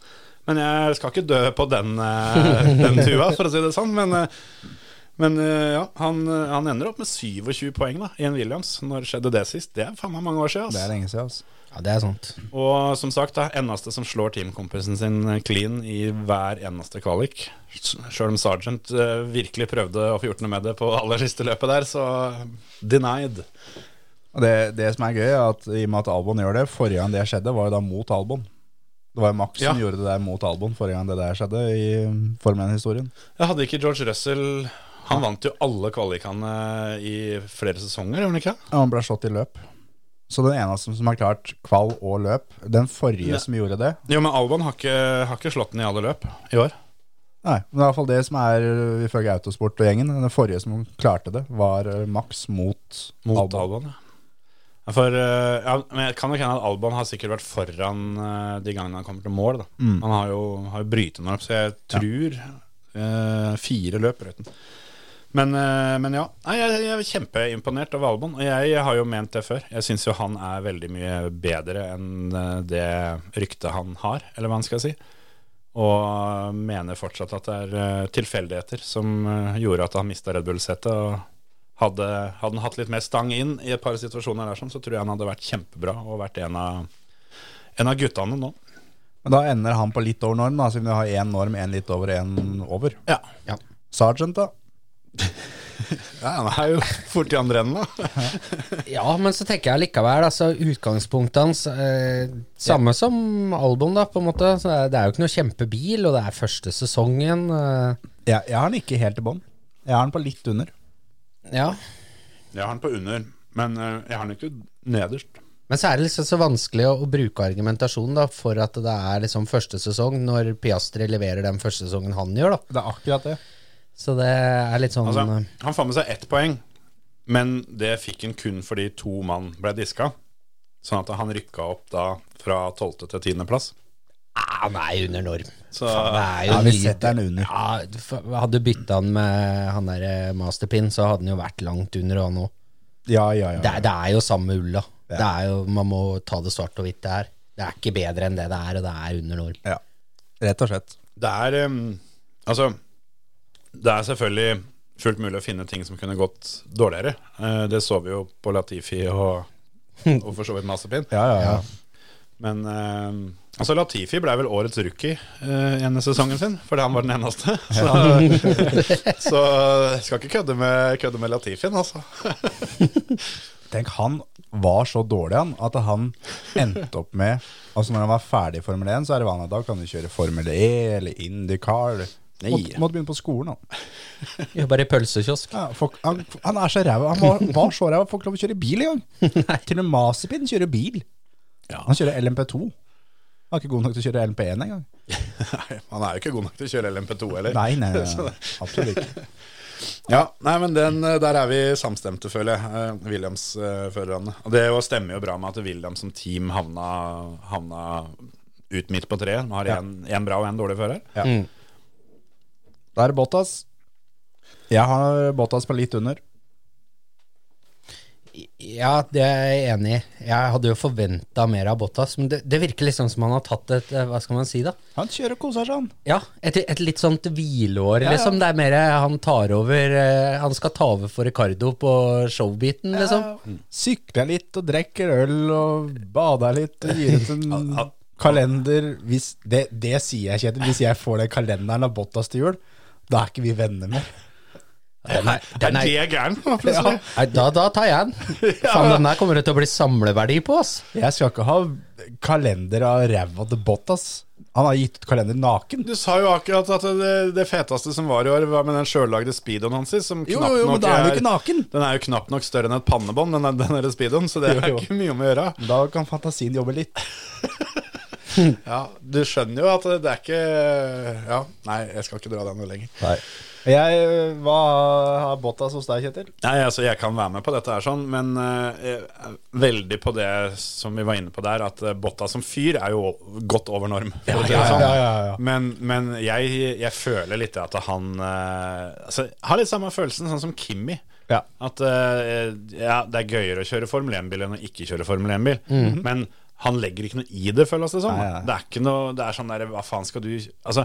Speaker 3: Men jeg skal ikke dø på den, eh, den tua, for å si det sånn. Men, eh, men eh, ja, han, eh, han ender opp med 27 poeng da, i en Williams. Når skjedde det sist? Det er faen meg mange år siden. ass.
Speaker 4: Det er lenge siden, altså.
Speaker 5: Ja, det er sant.
Speaker 3: Og som sagt, da, eneste som slår teamkompisen sin eh, clean i hver eneste kvalik. Sjøl om Sergeant eh, virkelig prøvde å få gjort noe med det på aller siste løpet der, så eh, denied.
Speaker 4: Og det, det som er gøy, er at i og med at Albon gjør det, forrige gang det skjedde, var jo da mot Albon. Det var jo Max som
Speaker 3: Ja.
Speaker 4: gjorde det der mot Albon forrige gang det der skjedde i um, Formel 1-historien.
Speaker 3: Jeg hadde ikke George Russell Han vant jo alle kvalikene eh, i flere sesonger, gjorde han ikke?
Speaker 4: Ja, han ble slått i løp. Så den eneste som har klart kval og løp, den forrige
Speaker 3: Ne-
Speaker 4: som gjorde det
Speaker 3: Jo, men Albon har ikke, har ikke slått den i alle løp i år.
Speaker 4: Nei, men det er i hvert fall det som er uh, ifølge Autosport og gjengen. Den forrige som klarte det, var uh, Max mot,
Speaker 3: Mot Albon, ja. Ja, For, eh, ja, men jeg kan nok hende at Albon har sikkert vært foran eh, de gangene han kommer til mål. Da. Han har jo, har jo brytet noen opp, så jeg tror eh, fire løp brøt han. Men, eh, men ja, Nei, jeg, jeg er kjempeimponert over Albon, og jeg, har jo ment det før. Jeg syns jo han er veldig mye bedre enn eh, det ryktet han har, eller hva han skal si. Og eh, mener fortsatt at det er eh, tilfeldigheter som eh, gjorde at han mista Red Bull-setet. og hadde, hadde han hatt litt mer stang inn i et par situasjoner der, sånn, så tror jeg han hadde vært kjempebra og vært en av, en av guttene nå.
Speaker 4: Men da ender han på litt over norm, da, siden du har én norm, én litt over, én over.
Speaker 3: Ja.
Speaker 4: Sergeant, da.
Speaker 3: han er jo fort i andre enden, da.
Speaker 5: Ja, men så tenker jeg likevel, altså utgangspunktet hans eh, Samme som Albon, da, på en måte. Så det er jo ikke noe kjempebil, og det er første sesongen. Eh,
Speaker 4: Jeg, jeg har den ikke helt i bånn. Jeg har den på litt under.
Speaker 5: ja.
Speaker 3: Jeg har han på under, men eh, jeg har han ikke nederst.
Speaker 5: Men så er det liksom så vanskelig å, å bruke argumentasjon da, for at det er liksom første sesong, når Piastri leverer den første sesongen han gjør. da.
Speaker 4: Det er akkurat det.
Speaker 5: Så det er litt sånn
Speaker 3: Altså,
Speaker 5: eh,
Speaker 3: han får med seg ett poeng, men det fikk han kun fordi to mann ble diska. Sånn at han rykka opp da fra tolvte til tiendeplass.
Speaker 5: ah, Han er jo under norm.
Speaker 3: Så-
Speaker 5: Faen, det er jo
Speaker 4: Ja, vi
Speaker 5: nydelig.
Speaker 4: setter den under.
Speaker 5: Ja, du fa- hadde du bytta han med han der eh, Masterpin, så hadde han jo vært langt under han òg.
Speaker 4: Ja, ja,
Speaker 5: Det,
Speaker 4: ja.
Speaker 5: er- det er jo samme ulla. Det er jo, man må ta det svart og hvitt det her. Det er ikke bedre enn det det er, og det er under norm.
Speaker 4: ja. Rett og slett.
Speaker 3: Det er em, Altså, det er selvfølgelig fullt mulig å finne ting som kunne gått dårligere. Eh, det så vi jo på Latifi og, og for så vidt Masterpin.
Speaker 4: Ja, ja, ja.
Speaker 3: Men eh, altså Latifi ble vel årets rookie eh, ene sesongen sin, fordi han var den eneste. Så, så jeg skal ikke kødde med, kødde med Latifien, altså.
Speaker 4: Tenk, han var så dårlig han, at han endte opp med Altså når han var ferdig i Formel 1, så er det vanlig at da kan du kjøre Formel E eller IndyCar. eller- Måtte, måtte begynne på skolen, han.
Speaker 5: Jobber i pølsekiosk.
Speaker 4: Ja, folk, han, han er så ræva. Han var, var så ræva at folk lov å kjøre bil engang. Til og med Masipin kjører bil. Han kjører LMP2. Han er ikke god nok til å kjøre LMP1 engang.
Speaker 3: Nei, han er jo ikke god nok til å kjøre LMP2 heller.
Speaker 4: Nei, nei, nei, nei. absolutt ikke.
Speaker 3: Ja, nei, men den, eh, Der er vi samstemte, føler jeg, eh, Williams-førerne. Og Det jo stemmer jo bra med at Williams som team havna, havna ut midt på treet. Man har én bra og én dårlig fører.
Speaker 4: Ja. Da er det Bottas. Jeg har Bottas på litt under.
Speaker 5: Ja, det er jeg enig i. Jeg hadde jo forventa mer av Bottas, men det, det virker liksom som han har tatt et eh, Hva skal man si, da?
Speaker 4: Han kjører og koser seg, han.
Speaker 5: Ja, et, et litt sånt hvileår,
Speaker 4: Ja, ja.
Speaker 5: liksom. Det er mer eh, han tar over eh, Han skal ta over for Ricardo på showbiten, liksom.
Speaker 4: Ja, Sykler litt og drikker øl og bader litt og gir ut en kalender. Hvis, det, det sier jeg, Kjetil. Hvis jeg får den kalenderen av Bottas til jul, da er ikke vi venner mer.
Speaker 5: Den er,
Speaker 3: Er
Speaker 5: den er,
Speaker 3: det gærent, da, plutselig?
Speaker 5: Nei, da, da tar jeg den. Faen, den der kommer det til å bli samleverdi på, ass.
Speaker 4: Jeg skal ikke ha kalender av ræva til Bottas. Han har gitt ut kalender naken.
Speaker 3: Du sa jo akkurat at det, det feteste som var i år, var med den sjøllagde speedoen hans. Som
Speaker 4: Jo,
Speaker 3: knapt
Speaker 4: jo, men
Speaker 3: nok
Speaker 4: da er den ikke naken.
Speaker 3: Den er jo knapt nok større enn et pannebånd, den, den der speedoen, så det
Speaker 4: Jo,
Speaker 3: er
Speaker 4: jo.
Speaker 3: ikke mye om å gjøre.
Speaker 4: Da kan fantasien jobbe litt.
Speaker 3: Ja, Du skjønner jo at det er ikke Ja, nei, jeg skal ikke dra den noe lenger.
Speaker 4: Jeg, hva har Bottas hos deg, Kjetil?
Speaker 3: Nei, altså Jeg kan være med på dette, her sånn men eh, jeg er veldig på det som vi var inne på der, at eh, Botta som fyr er jo godt over norm. for å si det
Speaker 4: ja,
Speaker 3: sånn.
Speaker 4: ja, ja, ja.
Speaker 3: Men, men jeg, jeg føler litt at han eh, altså, jeg Har litt samme følelsen sånn som Kimmi.
Speaker 4: Ja.
Speaker 3: At eh, ja, det er gøyere å kjøre Formel 1-bil enn å ikke kjøre Formel 1-bil. Men han legger ikke noe i det, føles det som.
Speaker 4: Mhm. Nei, nei.
Speaker 3: Det er ikke noe Det er sånn der Hva faen skal du Altså,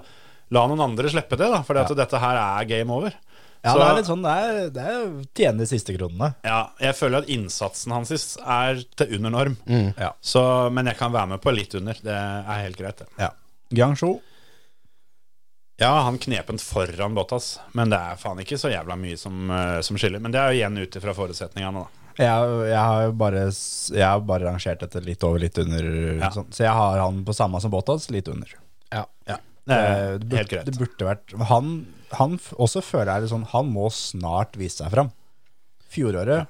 Speaker 3: la noen andre slippe det, da. For at dette her er game over.
Speaker 4: Ja,
Speaker 3: Så-
Speaker 4: det er litt sånn, det er, det er tjene de siste kronene.
Speaker 3: ja, jeg føler at innsatsen hans is- er til under norm.
Speaker 4: Ja.
Speaker 3: Så, men jeg kan være med på litt under. Det er helt greit, det.
Speaker 4: Ja. Guangzhou.
Speaker 3: Ja, han knepent foran Bottas, men det er faen ikke så jævla mye som, eh, som skiller. Men det er jo igjen ut ifra forutsetningene, da.
Speaker 4: Jeg, jeg har jo bare, s- jeg har bare rangert dette litt over, litt under.
Speaker 3: Ja.
Speaker 4: Sånn. Så jeg har han på samme som Bottas, litt under.
Speaker 5: Ja.
Speaker 3: Det
Speaker 4: Eh,
Speaker 3: er
Speaker 4: det burde,
Speaker 3: helt greit.
Speaker 4: Det burde vært Han, han f- også føler jeg det sånn Han må snart vise seg fram. Fjoråret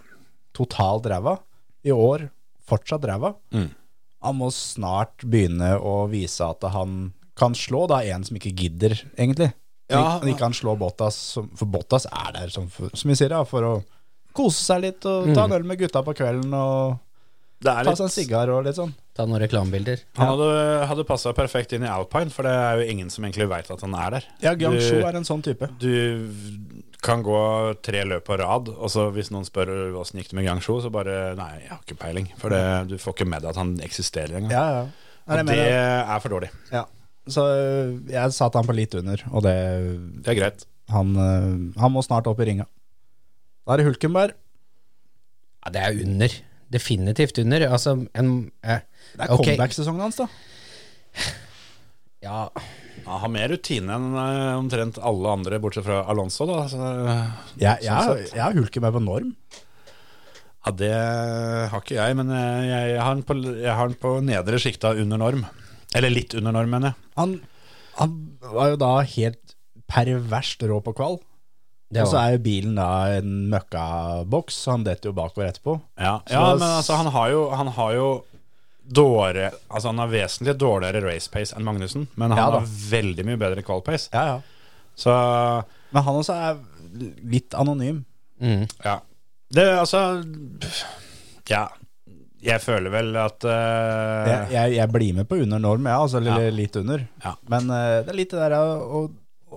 Speaker 4: totalt ræva. I år fortsatt ræva. Han må snart begynne å vise at han kan slå da en som ikke gidder, egentlig.
Speaker 3: Ja.
Speaker 4: Han ikke kan slå Bottas, som- for Bottas er der, som, som vi sier, da, for å kose seg litt og ta en øl med gutta på kvelden og
Speaker 3: Det er
Speaker 4: ta seg
Speaker 3: litt,
Speaker 4: en sigar og litt sånn.
Speaker 5: Ta noen reklamebilder.
Speaker 3: han hadde, hadde passa perfekt inn i Alpine, for det er jo ingen som egentlig veit at han er der.
Speaker 4: Ja, Guangzhou
Speaker 3: Du-
Speaker 4: er en sånn type.
Speaker 3: du kan gå tre løp på rad, og så hvis noen spør åssen gikk det med Gangsho, så bare Nei, jeg har ikke peiling. For det, du får ikke med deg at han eksisterer engang.
Speaker 4: Ja, ja. Nei, jeg
Speaker 3: og det
Speaker 4: mener-
Speaker 3: er for dårlig.
Speaker 4: Ja, så øh, jeg satte han på litt under, og det,
Speaker 3: Det er greit.
Speaker 4: han, øh, han må snart opp i ringa. Da er det Hulkenberg.
Speaker 5: Ja, det er under. Definitivt under. Altså, en eh,
Speaker 4: Det er
Speaker 5: ok.
Speaker 4: comeback-sesongen hans, da.
Speaker 5: Ja,
Speaker 3: Han har mer rutine enn eh, omtrent alle andre, bortsett fra Alonso. Da. Så, eh,
Speaker 4: Jeg, jeg,
Speaker 3: Sånn
Speaker 4: jeg har Hulkenberg på norm.
Speaker 3: ja, det har ikke jeg, men eh, jeg, jeg, har den på, jeg har den på nedre sjikta under norm. Eller litt under norm, mener jeg.
Speaker 4: Han, han var jo da helt perverst rå på kval.
Speaker 5: Det
Speaker 4: Og så
Speaker 5: var-
Speaker 4: er jo bilen da en møkkaboks, så han detter jo bakover etterpå.
Speaker 3: Ja,
Speaker 4: Så
Speaker 3: ja
Speaker 4: da s-
Speaker 3: men altså, han har jo, han har jo dårlig, altså, han har vesentlig dårligere race pace enn Magnussen, men han
Speaker 4: Ja da.
Speaker 3: har veldig mye bedre qual pace.
Speaker 4: Ja, ja.
Speaker 3: Så
Speaker 4: Men han også er litt anonym.
Speaker 5: Mm,
Speaker 3: ja. Det altså Ja. Jeg føler vel at eh,
Speaker 4: Jeg, jeg, jeg blir med på under norm, ja, altså, eller
Speaker 3: Ja.
Speaker 4: litt under.
Speaker 3: Ja.
Speaker 4: Men eh, det er litt det der å, å,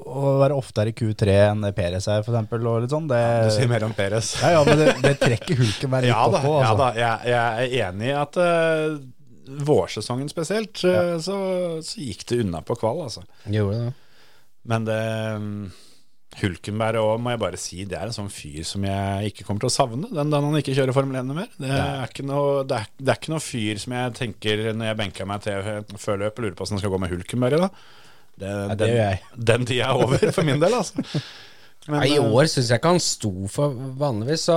Speaker 4: å være oftere i Q3 enn Peres er, for eksempel, og litt sånn. Det,
Speaker 3: Du sier mer om Peres.
Speaker 4: ja, ja, men det, det trekker hulken meg litt
Speaker 3: Ja da,
Speaker 4: oppå.
Speaker 3: ja
Speaker 4: Altså.
Speaker 3: da. Jeg, jeg er enig i at eh, vårsesongen spesielt, eh, så, så gikk det unna på kval, altså.
Speaker 5: Gjorde det.
Speaker 3: Men det mm, Hulkenberg òg, må jeg bare si, det er en sånn fyr som jeg ikke kommer til å savne. Den dagen han ikke kjører Formel 1 mer. Det er, ikke noe, det, er, det er ikke noe fyr som jeg tenker når jeg benker meg til før løp, lurer på hvordan det skal gå med Hulkenberg i dag. Det,
Speaker 4: det
Speaker 3: den,
Speaker 4: gjør jeg.
Speaker 3: den tida er over for min del, altså. Men,
Speaker 5: Nei, I
Speaker 3: eh,
Speaker 5: år syns jeg ikke han sto for vanligvis, så,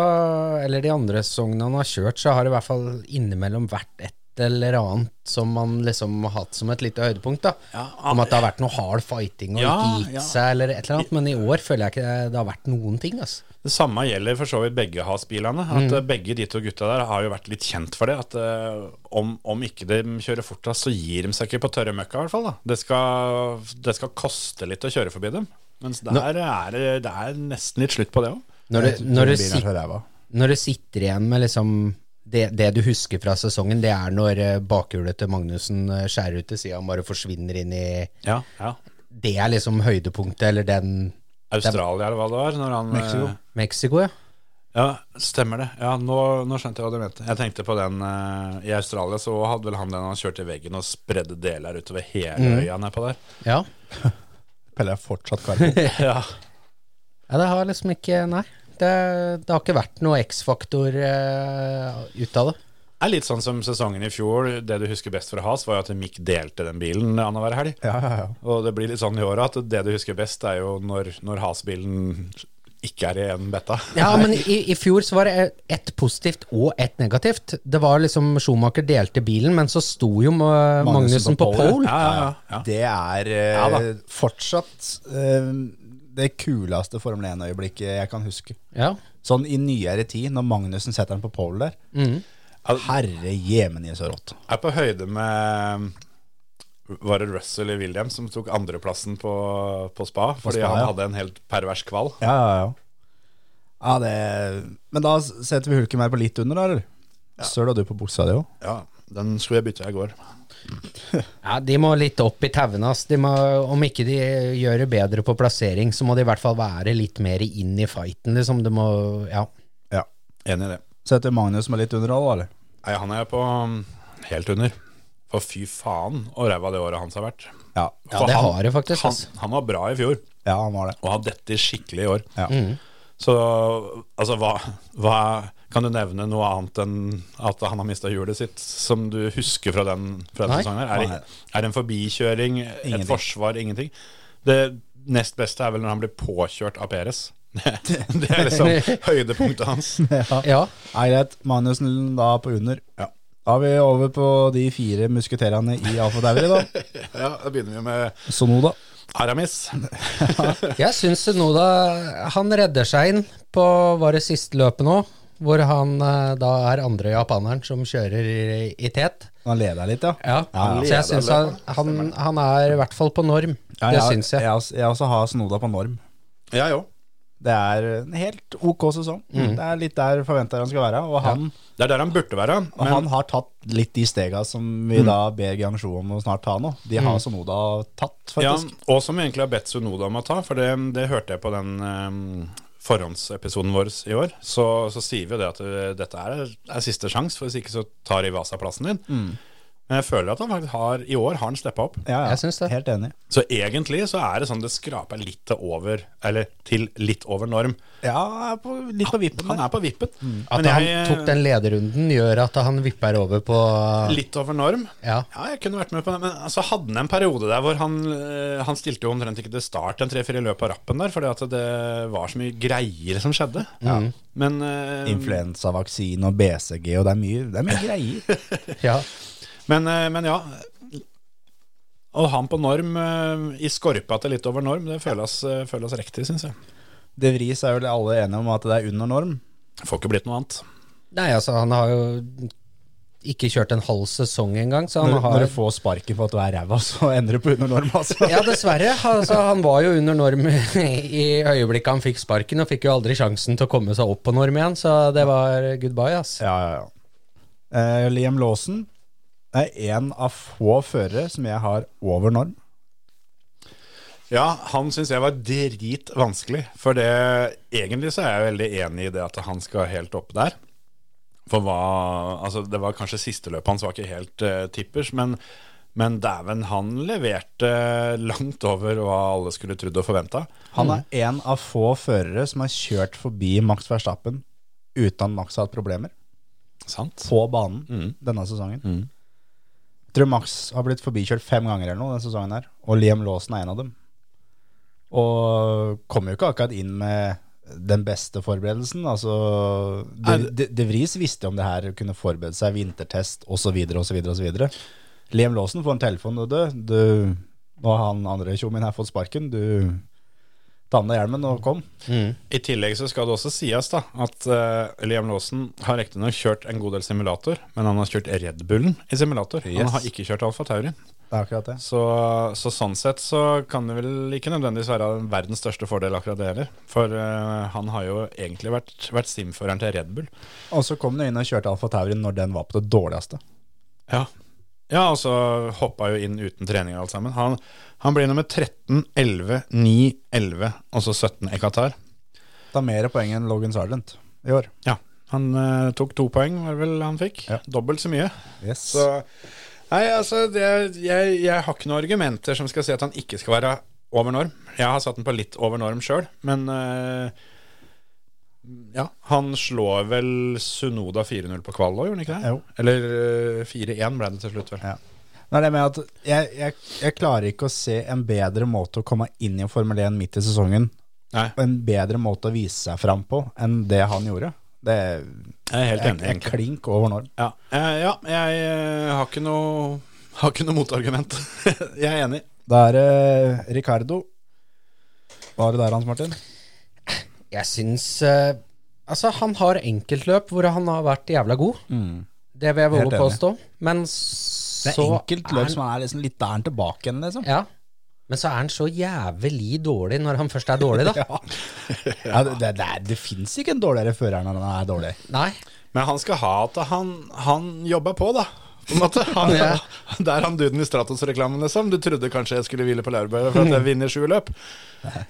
Speaker 5: eller de andre sesongene han har kjørt, så har det i hvert fall innimellom vært et eller annet som man liksom har hatt som et lite høydepunkt. da
Speaker 3: Ja,
Speaker 5: Om at det har vært noe hard fighting og
Speaker 3: Ja,
Speaker 5: ikke gitt
Speaker 3: ja.
Speaker 5: seg, eller et eller annet. Men i år føler jeg ikke det, det har vært noen ting. Altså.
Speaker 3: Det samme gjelder for så vidt begge Haas-bilene. At eh, Begge de to gutta der har jo vært litt kjent for det. At eh, om, om ikke de kjører fortest, så gir de seg ikke på tørre møkka, i hvert fall. Da. Det, skal, det skal koste litt å kjøre forbi dem. Mens der er det det er nesten litt slutt på det òg.
Speaker 5: Når du, når, du
Speaker 4: Bilen er
Speaker 5: sit,
Speaker 4: så ræva.
Speaker 5: når du sitter igjen med liksom det, det du husker fra sesongen, det er når eh, bakhjulet til Magnussen eh, skjærer ut til sida og bare forsvinner inn i
Speaker 3: Ja, ja.
Speaker 5: Det er liksom høydepunktet, eller den
Speaker 3: Australia, eller hva det var. Når han, eh,
Speaker 4: Mexico.
Speaker 5: Mexico, ja.
Speaker 3: Ja, stemmer det. Ja, nå, nå skjønte jeg hva du mente. Jeg tenkte på den eh, i Australia, så hadde vel han den han kjørte i veggen og spredde deler utover hele øya nedpå der.
Speaker 5: ja.
Speaker 4: Pelle er fortsatt karbon.
Speaker 3: Ja.
Speaker 5: Ja, det har liksom ikke Nei. Det, det har ikke vært noe X-faktor eh, ut av det.
Speaker 3: Det er litt sånn som sesongen i fjor. Det du husker best fra Has, var jo at Mick delte den bilen annenhver helg.
Speaker 4: Ja, ja, ja.
Speaker 3: Og det blir litt sånn i året at det du husker best, er jo når, når Has-bilen ikke er i en beta.
Speaker 5: Ja, men i, i fjor så var det ett positivt og ett negativt. Det var liksom Schumacher delte bilen, men så sto jo Ma- Magnussen på pole.
Speaker 3: Ja, ja, ja. ja.
Speaker 4: Det er eh,
Speaker 3: Ja da.
Speaker 4: fortsatt eh, det kuleste Formel 1-øyeblikket jeg kan huske.
Speaker 5: Ja.
Speaker 4: Sånn i nyere tid, når Magnussen setter den på pole der.
Speaker 5: Mm.
Speaker 4: Herre jemeni så rått.
Speaker 3: Jeg er på høyde med Var det Russell i Williams som tok andreplassen på, på spa? Fordi
Speaker 4: Spa,
Speaker 3: han
Speaker 4: ja.
Speaker 3: hadde en helt pervers kval.
Speaker 4: Ja, ja, ja. ja det, men da setter vi hulken mer på litt under, da, eller? Søl og du på buksa di òg.
Speaker 3: Ja, den skulle jeg bytte i går.
Speaker 5: ja, De må litt opp i tauene. ass. De må- Om ikke de gjør det bedre på plassering, så må de i hvert fall være litt mer inn i fighten, liksom. De må Ja.
Speaker 4: Ja.
Speaker 3: Enig i det.
Speaker 4: Setter Magnus med litt under òg, eller?
Speaker 3: Nei, han er på um, helt under. For fy faen og ræva det året hans har vært.
Speaker 4: Ja.
Speaker 5: Ja,
Speaker 3: For
Speaker 5: det
Speaker 3: han-
Speaker 5: har det faktisk,
Speaker 3: Han,
Speaker 5: ass.
Speaker 3: han var bra i fjor.
Speaker 4: ja, han var det.
Speaker 3: og har dette skikkelig i år.
Speaker 4: Ja.
Speaker 3: Så altså, hva, hva Kan du nevne noe annet enn at han har mista hjulet sitt, som du husker fra den, fra den
Speaker 5: Nei.
Speaker 3: sesongen? her? Er, det- er det en forbikjøring,
Speaker 4: Ingenting.
Speaker 3: et forsvar, ingenting? Det nest beste er vel når han blir påkjørt av Peres. Det, det er liksom høydepunktet hans.
Speaker 5: ja.
Speaker 4: Nei, greit. Magnussen da på under. Da er vi over på de fire musketerene i Alfa Dauri, da.
Speaker 3: Ja, Da begynner vi med
Speaker 4: Sonoda.
Speaker 3: Aramis.
Speaker 5: Jeg syns Sunoda Han redder seg inn på var det siste løpet nå, hvor han eh, da er andre japaneren som kjører i, i tet.
Speaker 4: Han leder litt, ja.
Speaker 5: Så jeg syns han, han, han er i hvert fall på norm.
Speaker 4: Ja,
Speaker 5: det
Speaker 4: jeg-
Speaker 5: syns jeg.
Speaker 4: Jeg, også- jeg også har Sonoda på norm.
Speaker 3: Jeg òg.
Speaker 4: Det er en helt ok sesong. Det er litt der forventer han skal være. Og han,
Speaker 3: Det er der han burde være.
Speaker 4: og
Speaker 3: Men
Speaker 4: han har tatt litt de stega som
Speaker 5: Mm.
Speaker 4: vi da ber Gangsjo om å snart ta nå. De har Sonoda tatt, faktisk.
Speaker 3: Ja, og som vi egentlig har bedt Sunoda om å ta, for det, det hørte jeg på den ehm, forhåndsepisoden vår i år. Så, så sier vi jo det at eh, dette er, er siste sjanse, for hvis ikke så tar Ivasa plassen din. Men jeg føler at han faktisk har, i år har han steppa opp.
Speaker 4: Mm. Ja, ja,
Speaker 5: Jeg syns det.
Speaker 4: Helt enig.
Speaker 3: Så egentlig så er det sånn det skraper litt til over, eller til litt over norm.
Speaker 4: Ja, jeg er på, litt på vippen
Speaker 3: Han
Speaker 4: der. Mm.
Speaker 3: er på vippen.
Speaker 5: At han tok den lederrunden, gjør at han vipper over på
Speaker 3: Litt over norm.
Speaker 5: Ja.
Speaker 3: Ja, jeg kunne vært med på det, men altså, hadde han en periode der hvor han, eh, han stilte jo omtrent ikke til start en tre-fire løp på rappen der, fordi at det var så mye greier som skjedde. Men, eh,
Speaker 5: Um,
Speaker 4: Influensavaksine og BCG, og det er mye, det er mye greier.
Speaker 5: ja.
Speaker 3: men, eh, men ja. Og han på norm, eh, i skorpa til litt over norm, det føles, eh, føles riktig, syns jeg.
Speaker 4: De Vries er vel alle enige om at det er under norm.
Speaker 3: Får ikke blitt noe annet.
Speaker 5: Nei, altså, han har jo ikke kjørt en halv sesong engang, så han
Speaker 4: Når,
Speaker 5: har
Speaker 4: når du får sparken for at du er ræva, så endrer du på under norm, altså.
Speaker 5: Ja, dessverre. Altså, han var jo under norm i øyeblikket han fikk sparken, og fikk jo aldri sjansen til å komme seg opp på norm igjen, så det var goodbye, ass.
Speaker 4: Ja, ja, ja. Eh, Liam Lawson er en av få førere som jeg har over norm.
Speaker 3: Ja, han syns jeg var dritvanskelig. For det, egentlig så er jeg veldig enig i det at han skal helt opp der. For hva Altså, det var kanskje siste løpet hans var ikke helt eh, tippers, men, men dæven, han leverte eh, langt over hva alle skulle trodd og forventa.
Speaker 4: Han er
Speaker 5: Mm.
Speaker 4: en av få førere som har kjørt forbi Max Verstappen uten at Max har hatt problemer
Speaker 3: Sant?
Speaker 4: på banen Mm. denne sesongen. Jeg tror Max har blitt forbikjørt fem ganger eller noe denne sesongen her, og Liam Lawson er en av dem. Og kom jo ikke akkurat inn med den beste forberedelsen. Altså, de,
Speaker 3: Nei,
Speaker 4: de, de Vries visste jo om det her, kunne forberede seg vintertest osv. osv. osv. Liam Lawson får en telefon og dø. Du, nå har han andre tjommen her fått sparken. Du ta med deg hjelmen og kom.
Speaker 3: I tillegg så skal det også sies da at eh, Liam Lawson har riktignok kjørt en god del simulator, men han har kjørt Red Bullen i simulator.
Speaker 4: Yes.
Speaker 3: Han har ikke kjørt Alfa Tauri.
Speaker 4: Det er akkurat det.
Speaker 3: Så, så sånn sett så kan det vel ikke nødvendigvis være verdens største fordel akkurat det heller. For eh, han har jo egentlig vært, vært simføreren til Red Bull.
Speaker 4: Og så kom han jo inn og kjørte Alfa Tauri når den var på det dårligste.
Speaker 3: Ja. og så hoppa jo inn uten trening og alt sammen. Han, han blir nummer 13, 11, 9, 11 og så 17 i Qatar.
Speaker 4: Ta mer poeng enn Logan Sargent i år.
Speaker 3: Ja. Han eh, tok to poeng, var det vel han fikk?
Speaker 4: Ja.
Speaker 3: Dobbelt så mye.
Speaker 4: Yes.
Speaker 3: Så Nei, altså, det, jeg, jeg har ikke noen argumenter som skal si at han ikke skal være over norm. Jeg har satt den på litt over norm sjøl, men eh, Ja, han slår vel Sunoda 4-0 på kvall òg, gjorde han ikke det?
Speaker 4: Jo.
Speaker 3: Eller eh, 4-1 ble det til slutt, vel.
Speaker 4: Ja. Nå er det med at jeg, jeg, jeg klarer ikke å se en bedre måte å komme inn i Formel 1 midt i sesongen,
Speaker 3: Nei,
Speaker 4: og en bedre måte å vise seg fram på enn det han gjorde. Det er,
Speaker 3: jeg er helt
Speaker 4: jeg,
Speaker 3: enig,
Speaker 4: jeg er
Speaker 3: egentlig.
Speaker 4: klink over norm.
Speaker 3: Ja, Eh, ja jeg eh, har ikke noe har ikke noe motargument. jeg er enig.
Speaker 4: Da er det eh, Ricardo. Hva er det der, Hans Martin?
Speaker 5: Jeg syns eh, Altså, han har enkeltløp hvor han har vært jævla god. Det vil jeg
Speaker 4: Mm. Helt
Speaker 5: våge å
Speaker 4: enig.
Speaker 5: påstå. Men så
Speaker 4: Det er enkelt løp
Speaker 5: er han-
Speaker 4: som er liksom litt der han tilbake igjen, liksom.
Speaker 5: Ja. Men så er han så jævlig dårlig når han først er dårlig, da.
Speaker 4: Ja, det, det, det, er- det fins ikke en dårligere fører enn han er dårlig.
Speaker 5: Nei.
Speaker 3: Men han skal ha at han, han jobber på, da. På en måte. Han,
Speaker 5: Ja.
Speaker 3: Der han duden i Stratos-reklamen, liksom. Du trodde kanskje jeg skulle hvile på laurbæret for at jeg vinner sju løp?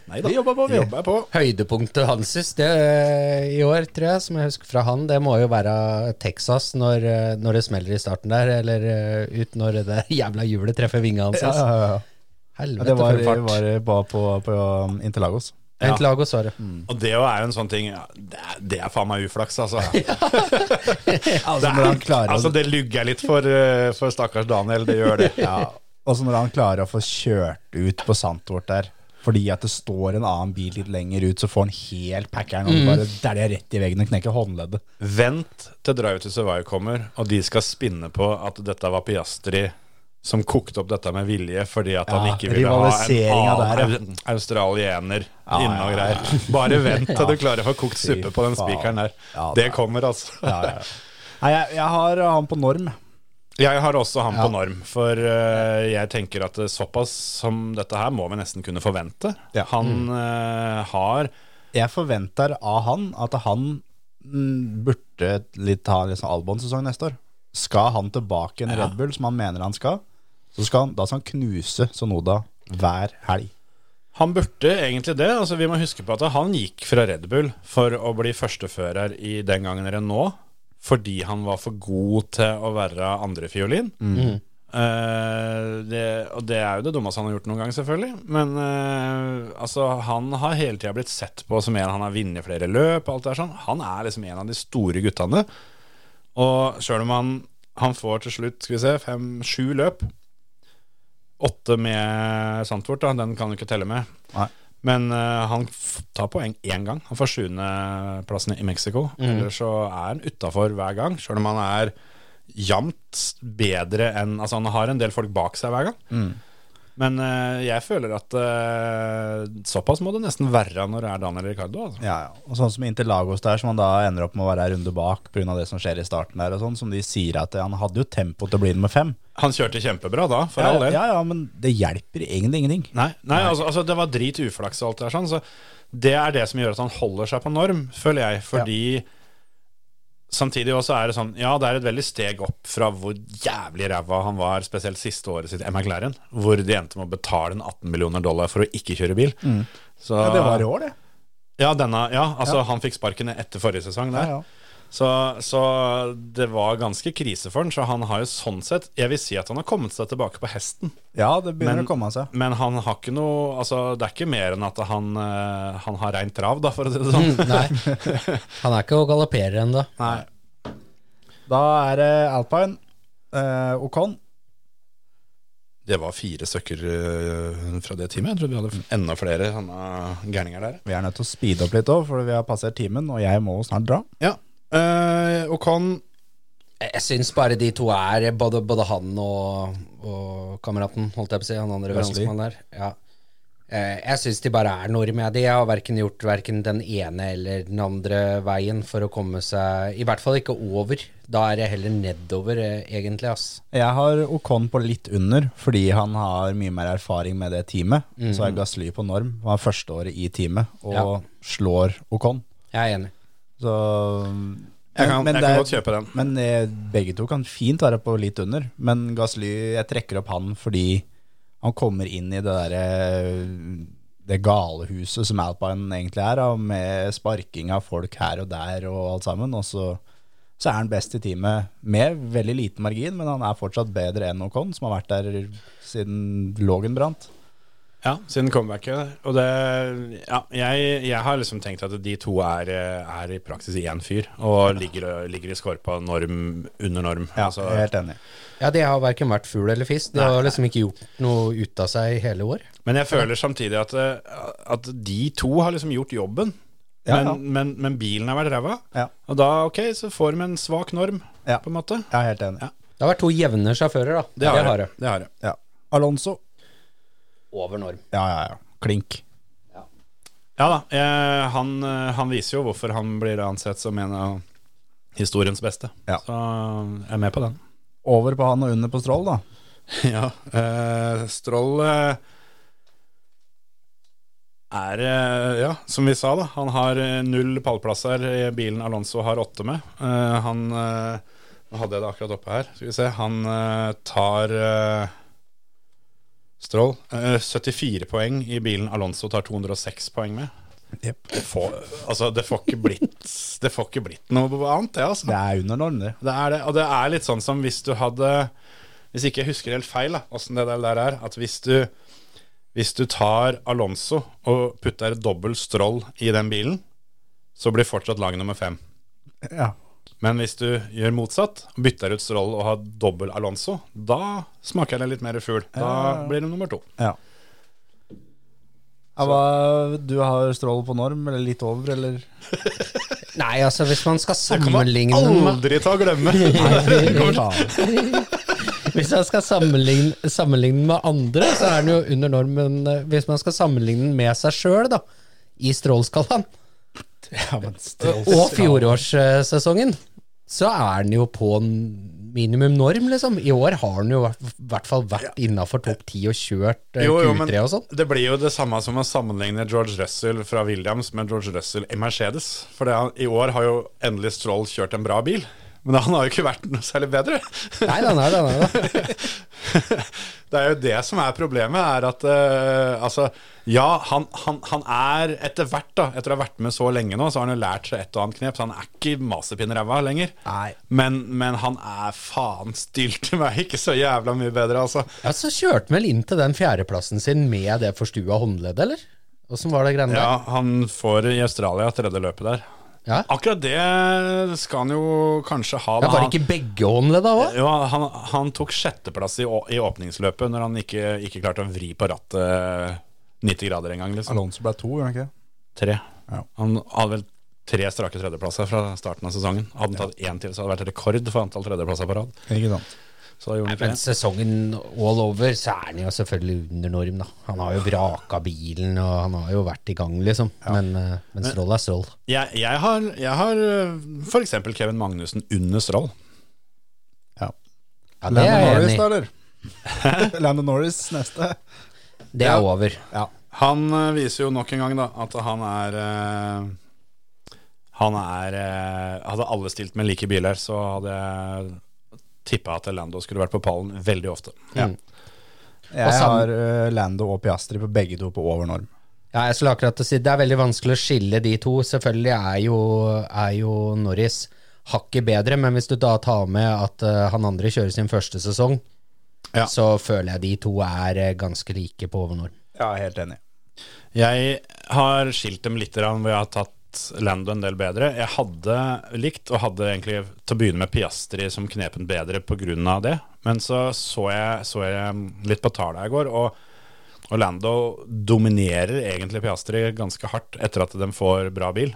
Speaker 3: Nei da. Vi jobber på, vi jobber på.
Speaker 5: Høydepunktet Hanses det, eh, i år, tror jeg, som jeg husker fra han, det må jo være Texas når, eh, når det smeller i starten der, eller eh, ut når det der jævla hjulet treffer vinga hans. ass.
Speaker 4: ja, ja. Ja,
Speaker 5: Helvete,
Speaker 4: Det var,
Speaker 5: for en fart.
Speaker 4: var bare på, på um, Interlagos.
Speaker 5: Ja. Et lag å svare.
Speaker 4: Mm.
Speaker 3: Og det jo er jo en sånn ting ja, Det er, det er faen meg uflaks, altså.
Speaker 4: Altså,
Speaker 3: Det,
Speaker 4: når han
Speaker 3: er,
Speaker 4: klarer å-
Speaker 3: altså, det lugger jeg litt for, eh, for stakkars Daniel, det gjør det.
Speaker 4: Ja, og så når han klarer å få kjørt ut på Santvort der, fordi at det står en annen bil litt lenger ut, så får han helt packeren, og bare dæljer rett i veggen og knekker håndleddet.
Speaker 3: Vent til Drive to Survive kommer, og de skal spinne på at dette var Piastri som kokte opp dette med vilje fordi at han
Speaker 4: Ja,
Speaker 3: ikke ville ha en
Speaker 4: rivaliseringen der,
Speaker 3: annen au- australiener inne og greier. Bare vent til du klarer å få kokt
Speaker 4: Fy
Speaker 3: suppe på den
Speaker 4: faen.
Speaker 3: spikeren der.
Speaker 4: Ja,
Speaker 3: Det
Speaker 4: det er-
Speaker 3: kommer, altså.
Speaker 4: Nei, jeg, jeg har han på norm.
Speaker 3: Jeg har også han på norm, for eh, jeg tenker at det er såpass som dette her må vi nesten kunne forvente.
Speaker 4: Ja. Mm.
Speaker 3: Han eh, har
Speaker 4: Jeg forventer av han at han mm, burde litt ha liksom Albon-sesong neste år. Skal han tilbake en Red Bull, som han mener han skal, så skal han, da skal han knuse Sonoda hver helg.
Speaker 3: Han burde egentlig det. altså Vi må huske på at han gikk fra Red Bull for å bli førstefører i den gangen Renault, fordi han var for god til å være andrefiolin. Eh, det, og det er jo det dummeste han har gjort noen gang, selvfølgelig. Men eh, altså, han har hele tida blitt sett på som en han har vunnet flere løp. og Alt det der, sånn. Han er liksom en av de store guttene. Og sjøl om han, han får til slutt skal vi se, fem-sju løp Åtte med Sandfort, da, den kan du ikke telle med.
Speaker 4: Nei.
Speaker 3: Men eh, han f- tar poeng én gang. Han får sjuendeplassen i Mexico.
Speaker 4: Mm.
Speaker 3: Ellers så er han utafor hver gang, sjøl om han
Speaker 4: Mm.
Speaker 3: er jevnt bedre enn Altså, han har en del folk bak seg hver gang. Men eh, jeg føler at eh, såpass må det nesten være når det er Daniel Ricardo. Altså.
Speaker 4: Ja, ja. Og sånn som Interlagos der, som han da ender opp med å være en runde bak pga. det som skjer i starten der, og sånn, som de sier at han hadde jo tempo til å bli nummer fem.
Speaker 3: Han kjørte kjempebra da, for all
Speaker 4: Ja,
Speaker 3: del.
Speaker 4: ja, ja, men det hjelper egentlig ingenting.
Speaker 3: Nei, nei altså, altså det var drit uflaks og alt det der sånn, så det er det som gjør at han holder seg på norm, føler jeg, fordi samtidig også er det sånn, ja, det er et veldig steg opp fra hvor jævlig ræva han var, spesielt siste året sitt i McLaren, hvor de endte med å betale en 18 millioner dollar for å ikke kjøre bil. Så,
Speaker 4: Mm. Ja, det var i år, det.
Speaker 3: Ja, denne, ja altså han fikk sparkene etter forrige sesong der.
Speaker 4: Ja, ja.
Speaker 3: Så, så det var ganske krise for han, så han har jo sånn sett, jeg vil si at han har kommet seg tilbake på hesten.
Speaker 4: Ja, det begynner
Speaker 3: Men-
Speaker 4: å komme seg.
Speaker 3: Men han har ikke noe Altså, det er ikke mer enn at han, eh, han har reint trav, da, for å si det sånn.
Speaker 5: Mm, Nei, han er ikke og galopperer ennå.
Speaker 4: Nei. Da er det Alpine, eh, Ocon
Speaker 3: Det var fire stykker eh, fra det teamet. Jeg trodde vi hadde enda flere sånne gærninger der.
Speaker 4: Vi er nødt til å speede opp litt òg, for vi har passert timen, og jeg må snart dra.
Speaker 3: Ja. Eh, Ocon
Speaker 5: Jeg syns bare de to er Både, både han og, og kameraten, holdt jeg på å si. Han andre
Speaker 4: Gasly.
Speaker 5: franskmannen der. Ja. Eh, Jeg syns de bare er nordmenn. De har verken gjort verken den ene eller den andre veien for å komme seg I hvert fall ikke over. Da er det heller nedover, eh, egentlig. ass.
Speaker 4: Jeg har Ocon på litt under, fordi han har mye mer erfaring med det teamet. Så er Gasly på norm, han er førsteåret i teamet, og
Speaker 5: Ja.
Speaker 4: slår Ocon.
Speaker 5: Jeg er enig.
Speaker 4: Så
Speaker 3: Jeg kan,
Speaker 4: men
Speaker 3: jeg
Speaker 4: det
Speaker 3: kan
Speaker 4: er-
Speaker 3: godt kjøpe den.
Speaker 4: Men eh, begge to kan fint være på litt under. Men Gasly, jeg trekker opp han fordi han kommer inn i det derre det galehuset som Alpine egentlig er, da, med sparking av folk her og der og alt sammen. Og så, så er han best i teamet med veldig liten margin, men han er fortsatt bedre enn Ocon, som har vært der siden Lågen brant.
Speaker 3: Ja, siden comebacket. Og det Ja, jeg, jeg har liksom tenkt at de to er, eh, er i praksis én fyr, og ligger, ligger i skorpa norm under norm.
Speaker 4: Ja, eh,
Speaker 3: Altså,
Speaker 4: jeg er helt enig.
Speaker 5: Ja, de har verken vært fugl eller fisk. De har liksom ikke gjort noe ut av seg i hele år.
Speaker 3: Men jeg føler samtidig at, eh, at de to har liksom gjort jobben.
Speaker 4: Ja,
Speaker 3: men,
Speaker 4: ja.
Speaker 3: Men, men bilen har vært ræva.
Speaker 4: Ja.
Speaker 3: Og da ok, så får de en svak norm,
Speaker 4: Ja.
Speaker 3: på en måte.
Speaker 4: Jeg er helt enig.
Speaker 3: Ja.
Speaker 5: Det har vært to jevne sjåfører, da. Det har det.
Speaker 3: Det har jeg.
Speaker 4: Ja. Alonso.
Speaker 5: Over norm.
Speaker 4: Ja, ja, ja. Klink.
Speaker 3: Ja da. eh, han, eh, han viser jo hvorfor han blir ansett som en av historiens beste.
Speaker 4: Ja.
Speaker 3: Så eh, jeg er med på den.
Speaker 4: Over på han og under på Stroll, da.
Speaker 3: Ja, eh, Stroll eh, er eh, Ja, som vi sa, da. Han har eh, null pallplasser i bilen Alonso har åtte med. Eh, han eh, Nå hadde jeg det akkurat oppe her. Skal vi se. Han eh, tar eh, Stroll eh, 74 poeng i bilen Alonso tar 206 poeng med. Det får, altså, det får ikke blitt Det får ikke blitt noe annet, det, altså.
Speaker 4: Det er under norm, det.
Speaker 3: Det er det, og det er litt sånn som hvis du hadde Hvis ikke jeg husker helt feil, da, åssen det der der er, at hvis du hvis du tar Alonso og putter dobbel stroll i den bilen, så blir fortsatt lag nummer fem.
Speaker 4: Ja.
Speaker 3: Men hvis du gjør motsatt, bytter ut stroll og har dobbel Alonso, da smaker det litt mer fugl. Da blir det nummer to.
Speaker 4: Ja. Ja, hva, du har strål på norm, eller litt over, eller?
Speaker 5: Nei, altså, hvis man skal
Speaker 3: Kan man
Speaker 5: sammenligne
Speaker 3: aldri ta og glemme!
Speaker 4: Faen.
Speaker 5: Hvis man skal sammenligne, sammenligne den med andre, så er den jo under norm, men eh, hvis man skal sammenligne den med seg sjøl, da, i strålskalaen,
Speaker 4: Ja, men strål.
Speaker 5: og fjorårssesongen, så er den jo på en minimum norm, liksom. I år har den jo i hvert- hvert fall vært innafor topp 10 og kjørt eh,
Speaker 3: Jo, jo, men
Speaker 5: Q3 og sånn.
Speaker 3: det blir jo det samme som å sammenligne George Russell fra Williams med George Russell i Mercedes. For det, han- i år har jo endelig Stroll kjørt en bra bil, men han har jo ikke vært noe særlig bedre.
Speaker 5: Nei, nei, nei, nei, nei.
Speaker 3: det er jo det som er problemet, er at eh, altså Ja, han, han, han er etter hvert, da, etter å ha vært med så lenge nå, så har han jo lært seg et og annet knep, så han er ikke masepinneræva lenger.
Speaker 4: Nei.
Speaker 3: Men, men han er faen stilte meg ikke så jævla mye bedre, altså.
Speaker 5: Ja, så kjørte han vel inn til den fjerdeplassen sin med det forstua håndleddet, eller? Åssen var det greiene
Speaker 3: Ja, han får i Australia tredje løpet der.
Speaker 5: der? Ja.
Speaker 3: Akkurat det skal han jo kanskje ha.
Speaker 5: Ja,
Speaker 3: da.
Speaker 5: Var det ikke begge håndledda òg?
Speaker 3: Jo, han, han tok sjetteplass i, å- i åpningsløpet når han ikke, ikke klarte å vri på rattet 90 grader engang. Liksom.
Speaker 4: Alonso ble to, gjorde han ikke det?
Speaker 3: Tre.
Speaker 4: Ja.
Speaker 3: Han hadde vel tre strake tredjeplasser fra starten av sesongen. Hadde han tatt én til, så hadde det vært rekord for antall tredjeplasser på rad.
Speaker 4: Ikke sant.
Speaker 3: Så da gjorde han ikke
Speaker 5: Men
Speaker 3: det.
Speaker 5: sesongen all over, så er han jo selvfølgelig under norm, da. Han har jo vraka bilen, og han har jo vært i gang, liksom. Men, eh, men strål er strål.
Speaker 3: Jeg, jeg har, jeg har øh, for eksempel Kevin Magnussen under Stroll.
Speaker 4: Ja.
Speaker 5: Ja, det
Speaker 4: Landon
Speaker 5: er jeg
Speaker 4: Norris,
Speaker 5: enig
Speaker 4: da,
Speaker 5: i.
Speaker 4: eller? Landon Norris neste.
Speaker 5: Det er over.
Speaker 4: Ja.
Speaker 3: Han øh, viser jo nok en gang da, at han er øh, Han er øh, Hadde alle stilt med like biler, så hadde jeg tippa at Lando skulle vært på pallen veldig ofte.
Speaker 5: Og
Speaker 4: Jeg
Speaker 5: sam-
Speaker 4: har eh, Lando og Piastri på begge to på over norm.
Speaker 5: Ja, jeg skulle akkurat til å si Det er veldig vanskelig å skille de to. Selvfølgelig er jo, er jo Norris hakket bedre, men hvis du da tar med at eh, han andre kjører sin første sesong,
Speaker 3: Ja.
Speaker 5: så føler jeg de to er eh, ganske like på overnorm.
Speaker 4: Ja, helt enig.
Speaker 3: Jeg har skilt dem litt grann hvor jeg har tatt Lando en del bedre. Jeg hadde likt, og hadde egentlig til å begynne med Piastri som knepen bedre pga. det. Men så så jeg, så jeg litt på tallene i går, og og Lando dominerer egentlig Piastri ganske hardt etter at de får bra bil.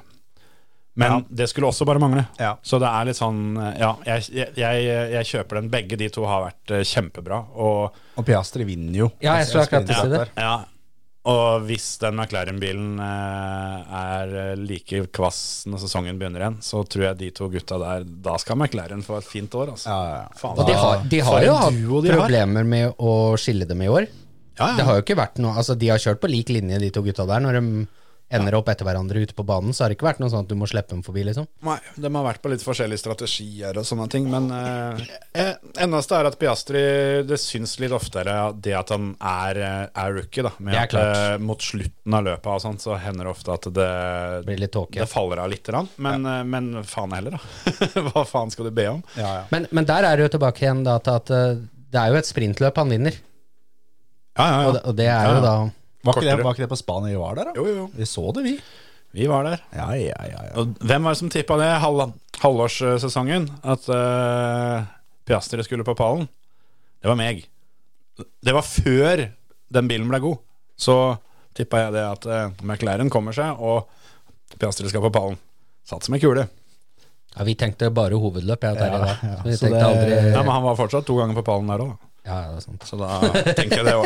Speaker 3: Men det skulle også bare mangle.
Speaker 4: Ja.
Speaker 3: Så det er litt sånn Ja, jeg, jeg, jeg, jeg kjøper den. Begge de to har vært eh, kjempebra. Og
Speaker 4: Og Piastri vinner jo.
Speaker 5: Ja, jeg skulle akkurat til å si det.
Speaker 3: ja. Og hvis den McLaren-bilen eh, er eh, like kvass når sesongen begynner igjen, så tror jeg de to gutta der Da skal McLaren få et fint år, altså.
Speaker 4: Ja, ja, ja.
Speaker 3: Faen,
Speaker 5: Og de har, de
Speaker 3: for
Speaker 5: har jo
Speaker 3: en
Speaker 5: hatt
Speaker 3: duo de har.
Speaker 5: problemer med å skille dem i år.
Speaker 3: Ja, ja.
Speaker 5: Det har jo ikke vært noe Altså, de har kjørt på lik linje, de to gutta der. Når de ender opp etter hverandre ute på banen, så har det ikke vært noe sånn at du må slippe dem forbi, liksom.
Speaker 3: Nei, de har vært på litt forskjellige strategier og sånne ting, men eh, eh, eneste er at Piastri Det syns litt oftere det at han er, eh, er rookie, da. Med
Speaker 5: Det er
Speaker 3: at, eh, mot slutten av løpet og sånt, så hender det ofte at det,
Speaker 5: Blir litt tåke.
Speaker 3: det faller av litt. grann. Men, eh, men faen heller, da. Hva faen skal du be om?
Speaker 4: ja, ja.
Speaker 5: Men, men der er det jo tilbake igjen da til at eh, det er jo et sprintløp han vinner,
Speaker 3: Ja, ja,
Speaker 5: og det, og det er jo da
Speaker 4: Var, ikke det,
Speaker 3: Kortere.
Speaker 4: var ikke det på Spania vi var der, da?
Speaker 3: Jo, jo, jo.
Speaker 4: Vi så det, vi.
Speaker 3: Vi var der.
Speaker 4: Ja, ja, ja, ja.
Speaker 3: Og hvem var det som tippa det halv, halvårssesongen? At eh, Piastri skulle på pallen? Det var meg. Det var før den bilen ble god. Så tippa jeg det at eh, McLaren kommer seg, og Piastri skal på pallen. Satt som ei kule.
Speaker 5: Ja, vi tenkte bare hovedløp, jeg og Terje.
Speaker 4: Ja,
Speaker 5: da.
Speaker 4: ja.
Speaker 5: Vi
Speaker 4: Så
Speaker 5: tenkte
Speaker 4: det-
Speaker 5: aldri
Speaker 3: Nei, men han var fortsatt to ganger på pallen der òg,
Speaker 5: Ja, det er sant.
Speaker 3: så da tenker jeg det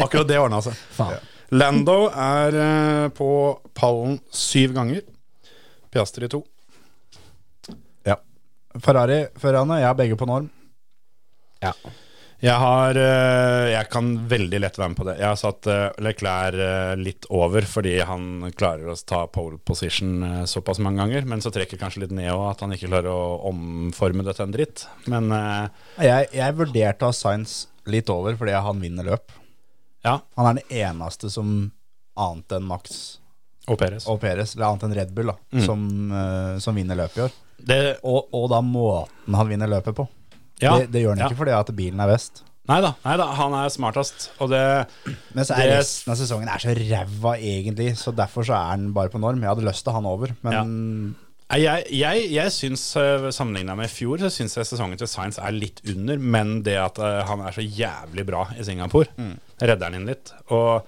Speaker 3: var Akkurat det ordna seg.
Speaker 5: Faen.
Speaker 3: Lando er eh, på pallen syv ganger. Piastri to.
Speaker 4: ja. Ferrari, Ferrari, jeg har begge på norm.
Speaker 5: Ja.
Speaker 3: Jeg har eh, Jeg kan veldig lett være med på det. Jeg har satt eh, Leclerc eh, litt over fordi han klarer å ta pole position eh, såpass mange ganger. Men så trekker kanskje litt ned òg, at han ikke klarer å omforme det til en dritt. Men eh,
Speaker 4: Jeg, jeg vurderte å ha Sainz litt over fordi han vinner løp.
Speaker 3: ja,
Speaker 4: Han er den eneste som annet enn Max
Speaker 3: og Perez.
Speaker 4: og Perez, eller annet enn Red Bull, da,
Speaker 3: Mm.
Speaker 4: som, eh, som vinner løpet i år.
Speaker 3: Det,
Speaker 4: Og, og da måten han vinner løpet på.
Speaker 3: ja,
Speaker 4: Det, det gjør han ikke fordi at bilen er best.
Speaker 3: Nei da, han er smartest. Og det
Speaker 4: Men så er
Speaker 3: Det-
Speaker 4: resten av sesongen er så ræva egentlig, så derfor så er han bare på norm. Jeg hadde lyst til han over, men
Speaker 3: Nei, Jeg, jeg, jeg syns, sammenligna med i fjor, så syns jeg sesongen til Science er litt under. Men det at eh, han er så jævlig bra i Singapore, redder han inn litt. Og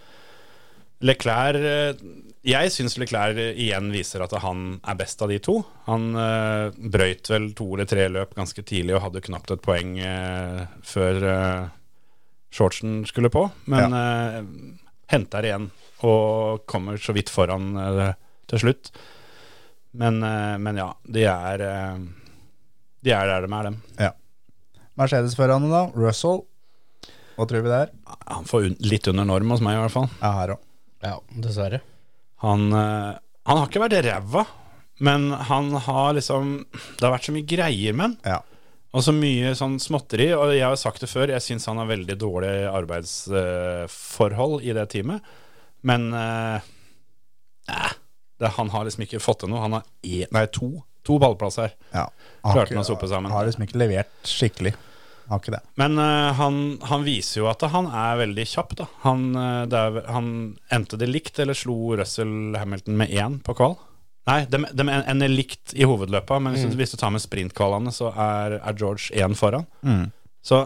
Speaker 3: Leclerc eh, Jeg syns Leclerc igjen viser at han er best av de to. Han eh, brøyt vel to eller tre løp ganske tidlig og hadde knapt et poeng eh, før eh, shortsen skulle på, men eh, henter igjen og kommer så vidt foran eh, til slutt. Men, eh, men ja, de er eh, De er der de er, dem.
Speaker 4: Mercedes-førerne, da. Russell. Hva tror vi det er?
Speaker 3: Han får un litt under norm hos meg, i hvert fall.
Speaker 4: Ja, her òg.
Speaker 5: ja, dessverre.
Speaker 3: Han, eh, han har ikke vært ræva, men han har liksom Det har vært så mye greier med han.
Speaker 4: Ja.
Speaker 3: Og så mye sånn småtteri. Og jeg har sagt det før, jeg syns han har veldig dårlig arbeidsforhold i det teamet. Men eh, eh, det, han har liksom ikke fått til noe. Han har én, nei, to, to ballplasser.
Speaker 4: ja.
Speaker 3: Klarte
Speaker 4: ikke-
Speaker 3: han å sope sammen.
Speaker 4: Har liksom ikke levert skikkelig. Har ikke det.
Speaker 3: Men eh, han, han viser jo at han er veldig kjapp. Da. Han, eh, det er, han endte det likt, eller slo Russell Hamilton med én på kval? Nei, de, de en- ender likt i hovedløpa, men
Speaker 4: Mm.
Speaker 3: hvis, du, hvis du tar med sprintkvalene, så er, er George én foran.
Speaker 4: Mm.
Speaker 3: Så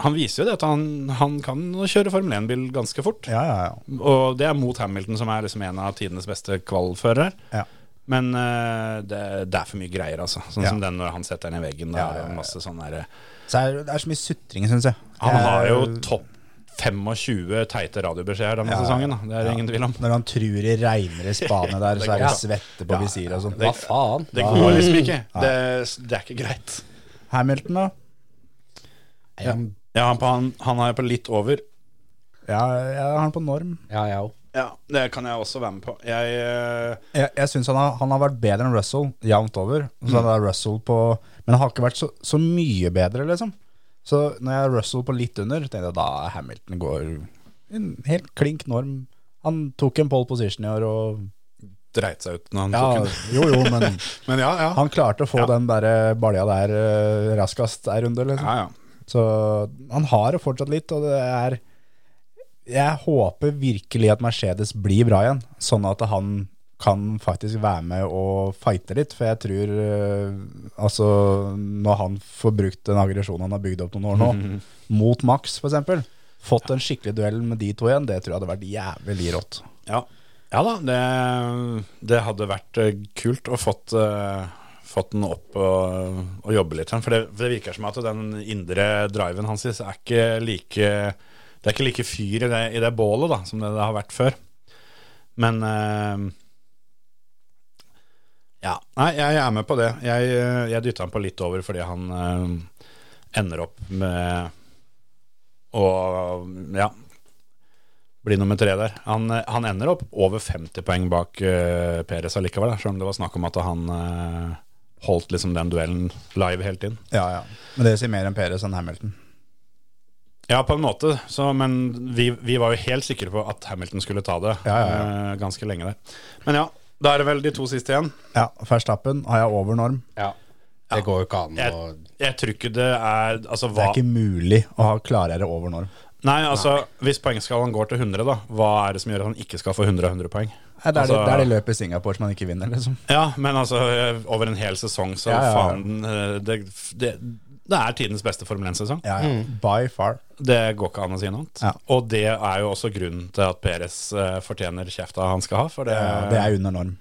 Speaker 3: han viser jo det at han, han kan kjøre Formel 1-bil ganske fort.
Speaker 4: Ja, ja, ja.
Speaker 3: Og det er mot Hamilton, som er liksom en av tidenes beste kvalførere.
Speaker 4: Ja.
Speaker 3: Men eh, det, det er for mye greier, altså. Sånn
Speaker 4: Ja.
Speaker 3: som den når han setter den i veggen. Der,
Speaker 4: Ja, ja, ja.
Speaker 3: og Masse sånn der,
Speaker 4: Så er, det er så mye sutring, syns jeg.
Speaker 3: han
Speaker 4: Jeg-
Speaker 3: har jo topp 25 teite radiobeskjeder denne
Speaker 4: Ja, ja.
Speaker 3: sesongen. Da. Det er det ingen tvil om.
Speaker 4: Når han truer i regnere Spania der, så er det svette på visir og sånn.
Speaker 5: Hva faen?
Speaker 3: Det går liksom ikke. Det, det er ikke greit.
Speaker 4: Hamilton, da?
Speaker 5: Ja,
Speaker 3: Ja, han, på, han, han er på litt over.
Speaker 4: Ja, jeg har han på norm.
Speaker 5: ja, jeg òg.
Speaker 3: Ja, Det kan jeg også være med på. Jeg eh,
Speaker 4: Jeg, jeg syns han, har- han har vært bedre enn Russell jevnt over. Så han er Russell på, men han har ikke vært så, så mye bedre, liksom. Så når jeg er Russell på litt under, tenkte jeg da er Hamilton går en helt klink norm. Han tok en pole position i år og
Speaker 3: dreit seg ut når han
Speaker 4: ja,
Speaker 3: tok den.
Speaker 4: Jo, jo, men
Speaker 3: Men ja, ja.
Speaker 4: han klarte å få
Speaker 3: Ja.
Speaker 4: den der balja der eh, raskest ei runde, liksom.
Speaker 3: ja, ja.
Speaker 4: Så han har det fortsatt litt, og det er Jeg håper virkelig at Mercedes blir bra igjen, sånn at han kan faktisk være med og fighte litt, for jeg tror eh, Altså, når han får brukt den aggresjonen han har bygd opp noen år nå, mot Max, for eksempel Fått en skikkelig duell med de to igjen, det tror jeg hadde vært jævlig rått.
Speaker 3: Ja, ja da, det, det hadde vært eh, kult å fått, eh, fått den opp og, og jobbe litt. For det, for det virker som at den indre driven hans er ikke like Det er ikke like fyr i det, i det bålet da, som det, det har vært før. Men eh, Ja, nei, jeg er med på det. Jeg, eh, jeg dytta han på litt over fordi han eh, ender opp med å ja, blir nummer tre der. Han, eh, han ender opp over 50 poeng bak uh, Peres allikevel, da, selv om det var snakk om at han eh, holdt liksom den duellen live helt inn.
Speaker 4: Ja, ja. Men det sier mer enn Perez enn Hamilton.
Speaker 3: Ja, på en måte, så, men vi, vi var jo helt sikre på at Hamilton skulle ta det
Speaker 4: Ja, ja,
Speaker 3: eh, ganske lenge der. Men ja, da er det vel de to siste igjen.
Speaker 4: Ja, Verstappen har jeg over norm.
Speaker 5: Ja. Det går jo ikke an å
Speaker 3: Jeg, jeg tror ikke det er Altså,
Speaker 4: Det
Speaker 3: hva
Speaker 4: er ikke mulig å ha klarere over norm.
Speaker 3: Nei, altså, hvis poengskalaen går til 100, da, hva er det som gjør at han ikke skal få 100 av 100 poeng?
Speaker 4: Nei, Det er det,
Speaker 3: Altså-
Speaker 4: det, er det løpet i Singapore som han ikke vinner, liksom.
Speaker 3: Ja, men altså eh, over en hel sesong, så
Speaker 4: Ja, ja, ja.
Speaker 3: faen eh, det, det, det er tidens beste Formel 1-sesong.
Speaker 4: Ja, ja. By far.
Speaker 3: Det går ikke an å si noe annet.
Speaker 4: Ja.
Speaker 3: Og det er jo også grunnen til at Peres eh, fortjener kjefta han skal ha, for det,
Speaker 4: Eh, Det er under norm.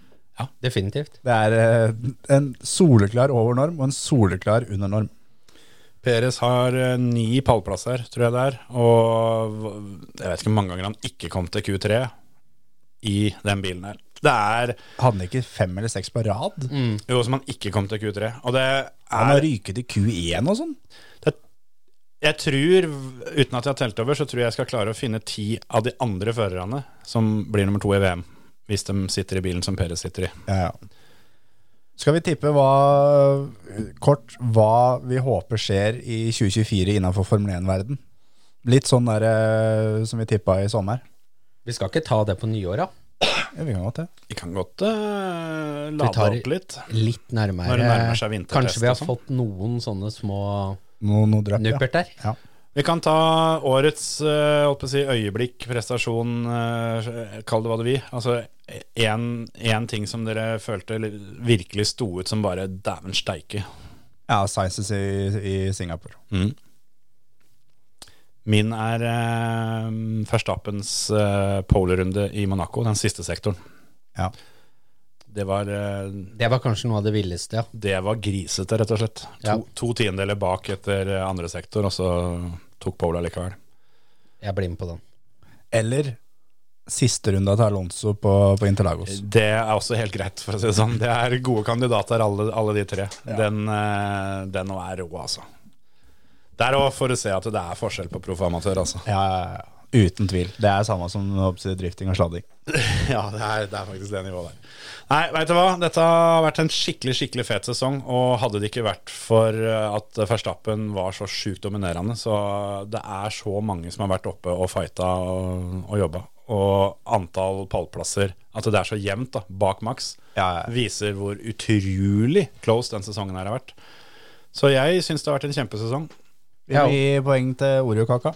Speaker 5: Definitivt.
Speaker 4: Det er eh, en soleklar over norm og en soleklar under norm.
Speaker 3: Peres har eh, ni pallplasser, tror jeg det er, og v- jeg vet ikke hvor mange ganger han ikke kom til Q3 i den bilen her. Det er
Speaker 4: Hadde han ikke fem eller seks på rad?
Speaker 3: jo som han ikke kom til Q3, og det
Speaker 4: Han
Speaker 3: er
Speaker 4: har ryket i Q1 og sånn.
Speaker 3: det, jeg tror, uten at jeg har telt over, så tror jeg jeg skal klare å finne ti av de andre førerne som blir nummer to i VM, hvis de sitter i bilen som Perez sitter i.
Speaker 4: Ja, ja. Skal vi tippe hva, kort hva vi håper skjer i 2024 innenfor Formel 1-verden? Litt sånn der eh, som vi tippa i sommer.
Speaker 5: Vi skal ikke ta det på nyåra.
Speaker 4: Ja, vi kan godt det.
Speaker 3: Vi kan godt eh,
Speaker 5: Vi
Speaker 3: lade
Speaker 5: tar-
Speaker 3: opp litt.
Speaker 5: Litt nærmere.
Speaker 3: Når det nærmer seg vintertest
Speaker 5: Kanskje vi har
Speaker 3: og sånn.
Speaker 5: fått noen sånne små
Speaker 4: Noe, noe drøpp, ja.
Speaker 5: nuppert der.
Speaker 4: ja.
Speaker 3: Vi kan ta årets eh, holdt på å si, øyeblikk, prestasjon, eh, kall det hva du vil. Altså én ting som dere følte li- virkelig sto ut som bare dæven steike. Mm.
Speaker 4: Ja, Sciences i, i Singapore.
Speaker 3: Min er eh, Verstappens eh, polerunde i Monaco, den siste sektoren.
Speaker 4: Ja.
Speaker 3: Det var, eh,
Speaker 5: Det var kanskje noe av det villeste, ja.
Speaker 3: det var grisete, rett og slett. To,
Speaker 5: Ja.
Speaker 3: to tiendeler bak etter eh, andre sektor, og så tok Pola likevel.
Speaker 5: Jeg blir med på den.
Speaker 4: Eller siste runda til Alonso på, på Interlagos.
Speaker 3: Det er også helt greit, for å si det sånn. Det er gode kandidater, alle, alle de tre. Den, eh, den nå er rå, altså. Der òg får du se at det er forskjell på proff og amatør, altså.
Speaker 4: Ja, ja, ja. Uten tvil. Det er samme som oppside drifting og sladding.
Speaker 3: Ja, det er, det er faktisk det nivået der. Nei, veit du hva. Dette har vært en skikkelig skikkelig fet sesong. Og hadde det ikke vært for eh, at Verstappen var så sjukt dominerende, så det er så mange som har vært oppe og fighta og, og jobba. Og antall pallplasser, at det er så jevnt da, bak maks,
Speaker 4: Ja, ja.
Speaker 3: viser hvor utrolig close den sesongen her har vært. Så jeg syns det har vært en kjempesesong.
Speaker 4: Vi gir poeng til Oreo-kaka.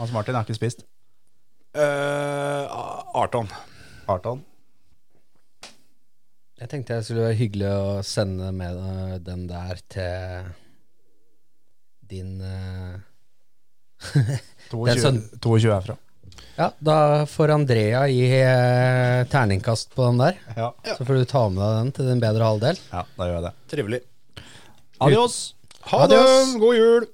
Speaker 4: Hans Martin har ikke spist.
Speaker 3: Eh, Arton.
Speaker 4: Arton.
Speaker 5: Jeg tenkte det skulle være hyggelig å sende med eh, den der til din eh, Det er
Speaker 4: 22,
Speaker 5: sånn-
Speaker 4: 22 herfra.
Speaker 5: Ja, da får Andrea gi eh, terningkast på den der.
Speaker 4: Ja.
Speaker 5: Så får du ta med deg den til din bedre halvdel.
Speaker 4: ja, da gjør jeg det.
Speaker 3: Trivelig.
Speaker 4: Adios!
Speaker 3: Ha det!
Speaker 5: Adios.
Speaker 3: God jul!